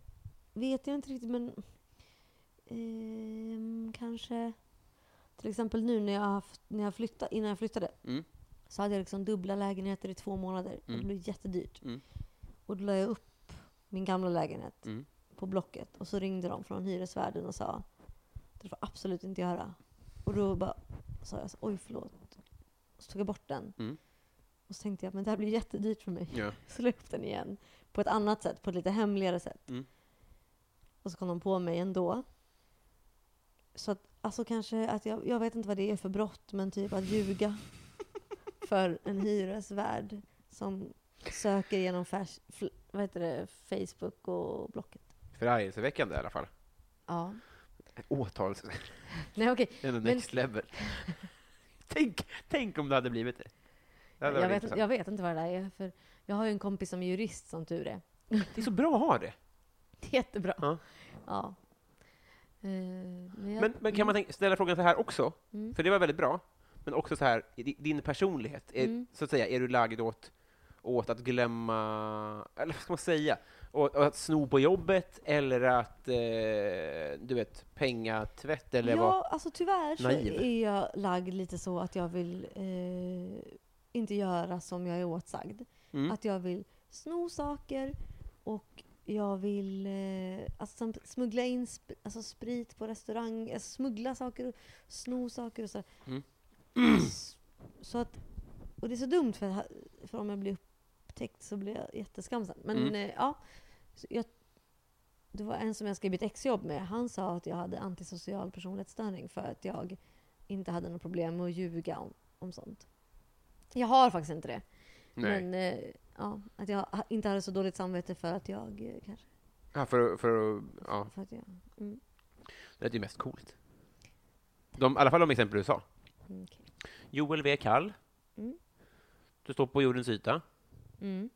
[SPEAKER 2] vet jag inte riktigt, men ehm, kanske till exempel nu när jag, har haft, när jag flyttade, innan jag flyttade
[SPEAKER 1] Mm.
[SPEAKER 2] så hade jag liksom dubbla lägenheter i två månader. Och det
[SPEAKER 1] Mm.
[SPEAKER 2] blev jättedyrt.
[SPEAKER 1] Mm.
[SPEAKER 2] Och då la jag upp min gamla lägenhet
[SPEAKER 1] Mm.
[SPEAKER 2] på Blocket. Och så ringde de från hyresvärden och sa det får jag absolut inte göra. Och då bara, sa jag så, oj förlåt. Och så tog jag bort den.
[SPEAKER 1] Mm.
[SPEAKER 2] Och så tänkte jag men det här blir jättedyrt för mig.
[SPEAKER 1] Ja.
[SPEAKER 2] Så la jag upp den igen. På ett annat sätt, på ett lite hemligare sätt.
[SPEAKER 1] Mm.
[SPEAKER 2] Och så kom de på mig ändå. Så att, alltså kanske att jag, jag vet inte vad det är för brott, men typ att ljuga för en hyresvärd som söker genom färs, fl, vad heter det, Facebook och Blocket.
[SPEAKER 1] Förargelseväckande i alla fall.
[SPEAKER 2] Ja.
[SPEAKER 1] Åtals...
[SPEAKER 4] Nej okej,
[SPEAKER 1] Ändå next level. tänk, tänk om det hade blivit det. det hade
[SPEAKER 4] jag,
[SPEAKER 1] varit
[SPEAKER 4] vet-
[SPEAKER 1] intressant.
[SPEAKER 4] jag vet inte vad det där är. För jag har ju en kompis som är jurist som tur är.
[SPEAKER 1] Det är så bra att ha det.
[SPEAKER 4] Det är jättebra.
[SPEAKER 1] Ja.
[SPEAKER 4] Ja. Eh, men jag,
[SPEAKER 1] Men, men kan man
[SPEAKER 2] Mm.
[SPEAKER 1] tänka, ställa frågan så här också?
[SPEAKER 4] Mm.
[SPEAKER 1] För det var väldigt bra. Men också så här, i di- din personlighet, är,
[SPEAKER 4] Mm.
[SPEAKER 1] så att säga, är du lagd åt, åt att glömma, eller vad ska man säga, åt, åt att sno på jobbet eller att, eh, du vet, pengatvätt eller vad?
[SPEAKER 2] Ja, alltså tyvärr så
[SPEAKER 1] naiv.
[SPEAKER 2] är jag lagd lite så att jag vill eh, inte göra som jag är åtsagd.
[SPEAKER 1] Mm.
[SPEAKER 2] Att jag vill sno saker och jag vill eh, alltså, sam- smuggla in sp- alltså, sprit på restaurang, alltså, smuggla saker och sno saker och sådär.
[SPEAKER 1] Mm.
[SPEAKER 2] S- Så att, och det är så dumt för, ha- för om jag blir upptäckt så blir jag jätteskamsen. Men
[SPEAKER 1] Mm.
[SPEAKER 2] eh, ja, så jag, det var en som jag skrev ett exjobb med. Han sa att jag hade antisocial personlighetsstörning för att jag inte hade något problem med att ljuga om, om sånt. Jag har faktiskt inte det.
[SPEAKER 1] Nej.
[SPEAKER 2] Men eh, ja, att jag ha- inte hade så dåligt samvete för att jag eh, kanske...
[SPEAKER 1] Ja, för, för, ja,
[SPEAKER 2] För att jag
[SPEAKER 1] det är ju mest coolt. De, I alla fall de exempel du sa.
[SPEAKER 2] mm, okej.
[SPEAKER 1] Joel V. Kall.
[SPEAKER 2] Mm.
[SPEAKER 1] Du står på jordens yta.
[SPEAKER 2] mm.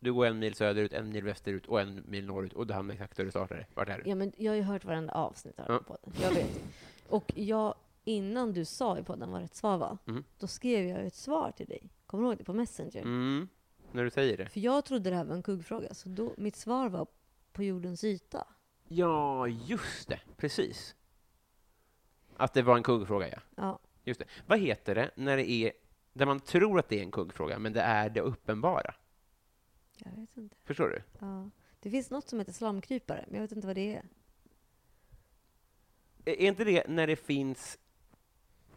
[SPEAKER 1] Du går en mil söderut, en mil västerut och en mil norrut och du hamnar exakt där du startade. Vart är du?
[SPEAKER 2] Ja, men jag har ju hört varenda avsnitt av den här podden. Jag vet. Och jag, innan du sa i podden vad rätt svar var,
[SPEAKER 1] Mm.
[SPEAKER 2] då skrev jag ju ett svar till dig. Kommer du ihåg det? På Messenger.
[SPEAKER 1] Mm, när du säger det.
[SPEAKER 2] För jag trodde det här var en kuggfråga, så då, mitt svar var på jordens yta.
[SPEAKER 1] Ja, just det. Precis. Att det var en kuggfråga, ja.
[SPEAKER 2] Ja.
[SPEAKER 1] Just det. Vad heter det när det är där man tror att det är en kuggfråga, men det är det uppenbara?
[SPEAKER 2] Jag vet inte.
[SPEAKER 1] Förstår du?
[SPEAKER 2] Ja. Det finns något som heter slamkrypare, men jag vet inte vad det är.
[SPEAKER 1] Är är inte det när det finns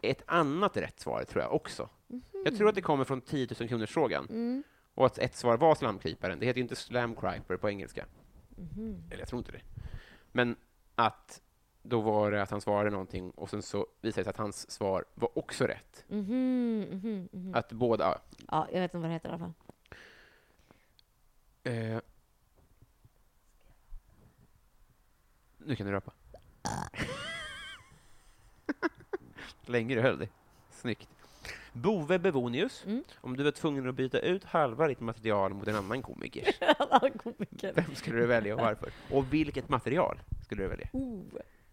[SPEAKER 1] ett annat rätt svar, tror jag också? Jag tror att det kommer från 10 000 kronors frågan
[SPEAKER 2] Mhm. Mm.
[SPEAKER 1] och att ett svar var slamkryparen. Det heter ju inte slamkryper på engelska.
[SPEAKER 2] Mhm.
[SPEAKER 1] Eller jag tror inte det. Men att då var det att han svarade någonting och sen så visade det sig att hans svar var också rätt.
[SPEAKER 2] Mhm, mhm, mhm.
[SPEAKER 1] Att båda... ja.
[SPEAKER 2] Ja, jag vet inte vad det heter i alla fall.
[SPEAKER 1] Eh. Nu kan du röpa. Länge du höll dig. Snyggt. Bove Bevonius,
[SPEAKER 2] Mm.
[SPEAKER 1] om du var tvungen att byta ut halva ditt material mot en annan komiker,
[SPEAKER 2] Alla komiker.
[SPEAKER 1] vem skulle du välja och varför? Och vilket material skulle du välja?
[SPEAKER 2] Oh.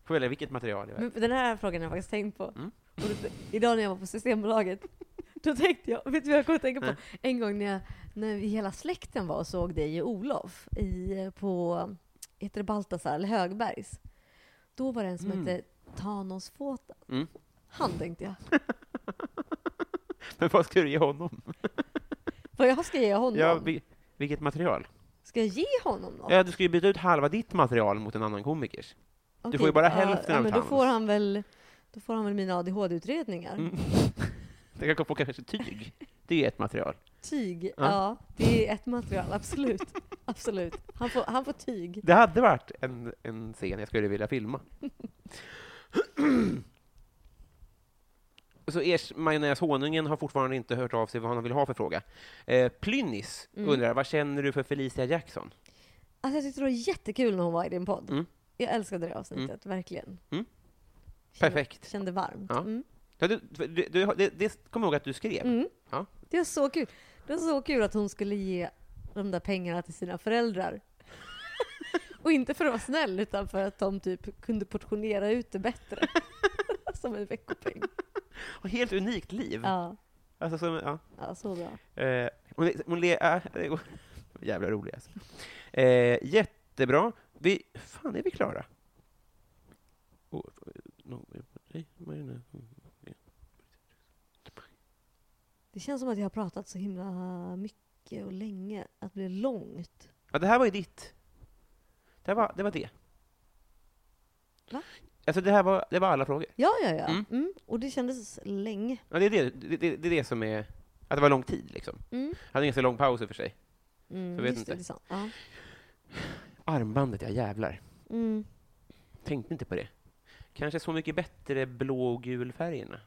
[SPEAKER 1] Får välja
[SPEAKER 2] Mm.
[SPEAKER 1] vilket material i världen.
[SPEAKER 2] Men den här frågan har jag faktiskt tänkt på.
[SPEAKER 1] Mm.
[SPEAKER 2] Och det, idag när jag var på Systembolaget, Då tänkte jag, vet du vad jag kom att tänka på? En gång när, jag, när vi hela släkten var och såg dig i Olof i, på, heter det Baltasar, eller Högbergs. Då var det en som
[SPEAKER 1] Mm.
[SPEAKER 2] hette Thanos Fåtan.
[SPEAKER 1] Mm.
[SPEAKER 2] Han tänkte jag.
[SPEAKER 1] Men vad ska du ge honom?
[SPEAKER 2] Vad jag ska ge honom?
[SPEAKER 1] Ja, vi, vilket material?
[SPEAKER 2] Ska jag ge honom något?
[SPEAKER 1] Ja, du ska ju byta ut halva ditt material mot en annan komikers.
[SPEAKER 2] Okej,
[SPEAKER 1] får ju bara
[SPEAKER 2] ja,
[SPEAKER 1] hälften
[SPEAKER 2] ja,
[SPEAKER 1] av
[SPEAKER 2] men då
[SPEAKER 1] Thanos.
[SPEAKER 2] får han väl Då får han väl mina ADHD-utredningar.
[SPEAKER 1] Mm. Det kan få kanske tyg. Det är ett material.
[SPEAKER 2] Tyg,
[SPEAKER 1] Ja.
[SPEAKER 2] ja. Det är ett material, absolut. absolut. Han får, han får tyg.
[SPEAKER 1] Det hade varit en, en scen jag skulle vilja filma. Så ers majonnäshonungen har fortfarande inte hört av sig vad han vill ha för fråga. Eh, Plynnis
[SPEAKER 2] Mm.
[SPEAKER 1] undrar, vad känner du för Felicia Jackson?
[SPEAKER 2] Alltså jag tyckte det var jättekul när hon var i din podd.
[SPEAKER 1] Mm.
[SPEAKER 2] Jag älskade det avsnittet, verkligen.
[SPEAKER 1] Mm.
[SPEAKER 2] Kände-
[SPEAKER 1] Perfekt.
[SPEAKER 2] Kände varmt.
[SPEAKER 1] Ja.
[SPEAKER 2] Mm.
[SPEAKER 1] Ja, du, du, du, det, det kommer jag ihåg att du skrev.
[SPEAKER 2] Mm.
[SPEAKER 1] Ja.
[SPEAKER 2] Det var så kul. Det var så kul att hon skulle ge de där pengarna till sina föräldrar. Och inte för att vara snäll, utan för att de typ kunde portionera ut det bättre. Som en veckopeng.
[SPEAKER 1] Och helt unikt liv.
[SPEAKER 2] Ja,
[SPEAKER 1] Alltså, som, ja.
[SPEAKER 2] ja så bra.
[SPEAKER 1] Eh, hon, hon le, äh, det går- jävla rolig alltså. Eh, jättebra. Vi, fan, är vi klara? Oh, no, nej, vad är det nu? Mm.
[SPEAKER 2] Det känns som att jag har pratat så himla mycket och länge, att det blir långt.
[SPEAKER 1] ja, det här var ju ditt. Det här var det. Var det.
[SPEAKER 2] Va?
[SPEAKER 1] Alltså, det här var, det var alla frågor.
[SPEAKER 2] Ja, ja, ja.
[SPEAKER 1] Mm.
[SPEAKER 2] Mm. Och det kändes länge.
[SPEAKER 1] Ja, det, är det, det, det, det är det som är... Att det var lång tid, liksom.
[SPEAKER 2] Mm.
[SPEAKER 1] Jag hade en ganska lång paus i och för sig.
[SPEAKER 2] Mm,
[SPEAKER 1] Jag vet
[SPEAKER 2] just
[SPEAKER 1] inte.
[SPEAKER 2] Det, det är sant. Ja.
[SPEAKER 1] Armbandet, ja jävlar.
[SPEAKER 2] Mm.
[SPEAKER 1] Tänkte inte på det. Kanske så mycket bättre blå och gul färgerna.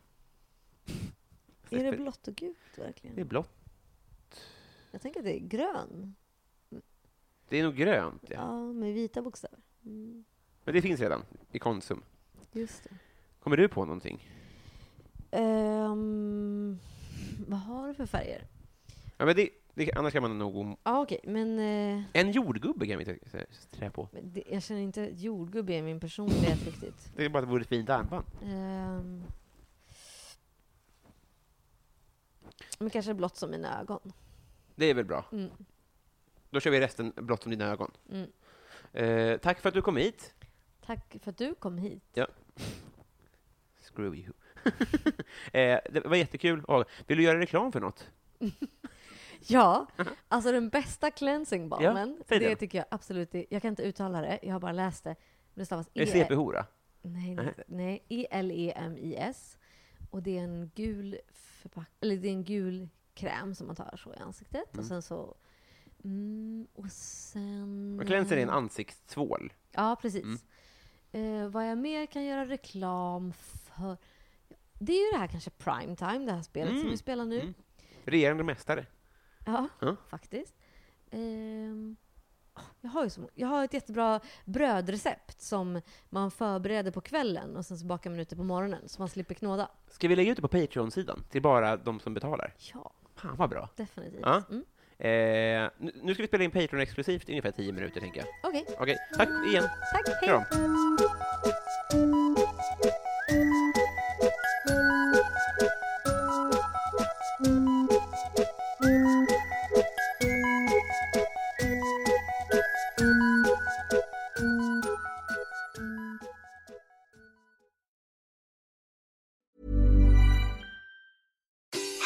[SPEAKER 2] Är det blått och gult verkligen?
[SPEAKER 1] Det är blått.
[SPEAKER 2] Jag tänker att det är grön.
[SPEAKER 1] Det är nog grönt,
[SPEAKER 2] Ja,
[SPEAKER 1] ja.
[SPEAKER 2] med vita bokstäver. Mm.
[SPEAKER 1] Men det finns redan i Konsum.
[SPEAKER 2] Just det.
[SPEAKER 1] Kommer du på någonting?
[SPEAKER 2] Ehm, vad har du för färger?
[SPEAKER 1] Ja, men det, det, annars kan man nog... om-
[SPEAKER 2] Ja, ah, okej, men eh,
[SPEAKER 1] En jordgubbe kan vi t- t- trä på.
[SPEAKER 2] men det, jag känner inte att jordgubbe är min personlighet riktigt.
[SPEAKER 1] Det är bara att det vore ett fint armband.
[SPEAKER 2] Ehm, men kanske blått som mina ögon.
[SPEAKER 1] Det är väl bra.
[SPEAKER 2] Mm.
[SPEAKER 1] Då kör vi resten blott som dina ögon.
[SPEAKER 2] Mm.
[SPEAKER 1] Eh, tack för att du kom hit.
[SPEAKER 2] Tack för att du kom hit.
[SPEAKER 1] Screw you. eh, det var jättekul. Och, vill du göra reklam för något?
[SPEAKER 2] Ja, alltså den bästa cleansing balmen,
[SPEAKER 1] säg
[SPEAKER 2] det
[SPEAKER 1] den.
[SPEAKER 2] tycker jag absolut är, Jag kan inte uttala det, jag har bara läst det. Men det stavas E-
[SPEAKER 1] Är det CP-hora?
[SPEAKER 2] Nej,
[SPEAKER 1] Nej.
[SPEAKER 2] nej, nej. E E-L-E-M-I-S. Och det är en gul förpack... Eller det är en gul kräm som man tar så i ansiktet.
[SPEAKER 1] Mm.
[SPEAKER 2] Och sen så... Mm, och sen...
[SPEAKER 1] Man klänser i en ansiktstvål.
[SPEAKER 2] Ja, precis.
[SPEAKER 1] Mm.
[SPEAKER 2] Eh, vad jag mer kan göra reklam för... Det är ju det här kanske primetime, det här spelet som
[SPEAKER 1] Mm.
[SPEAKER 2] vi spelar nu.
[SPEAKER 1] Mm. Regerande mästare.
[SPEAKER 2] Ja,
[SPEAKER 1] Ja.
[SPEAKER 2] faktiskt. Ehm, åh, jag, har ju så, må- jag har ett jättebra brödrecept som man förbereder på kvällen och sen så bakar man ut det på morgonen så man slipper knåda.
[SPEAKER 1] Ska vi lägga ut det på Patreon-sidan? Till bara de som betalar?
[SPEAKER 2] Ja,
[SPEAKER 1] Fan vad bra.
[SPEAKER 2] definitivt.
[SPEAKER 1] Ja.
[SPEAKER 2] Mm.
[SPEAKER 1] Eh, nu nu ska vi spela in Patreon exklusivt i ungefär 10 minuter, tänker jag.
[SPEAKER 2] Okej,
[SPEAKER 1] Okej, tack igen.
[SPEAKER 2] tack. Hej.
[SPEAKER 1] Kram.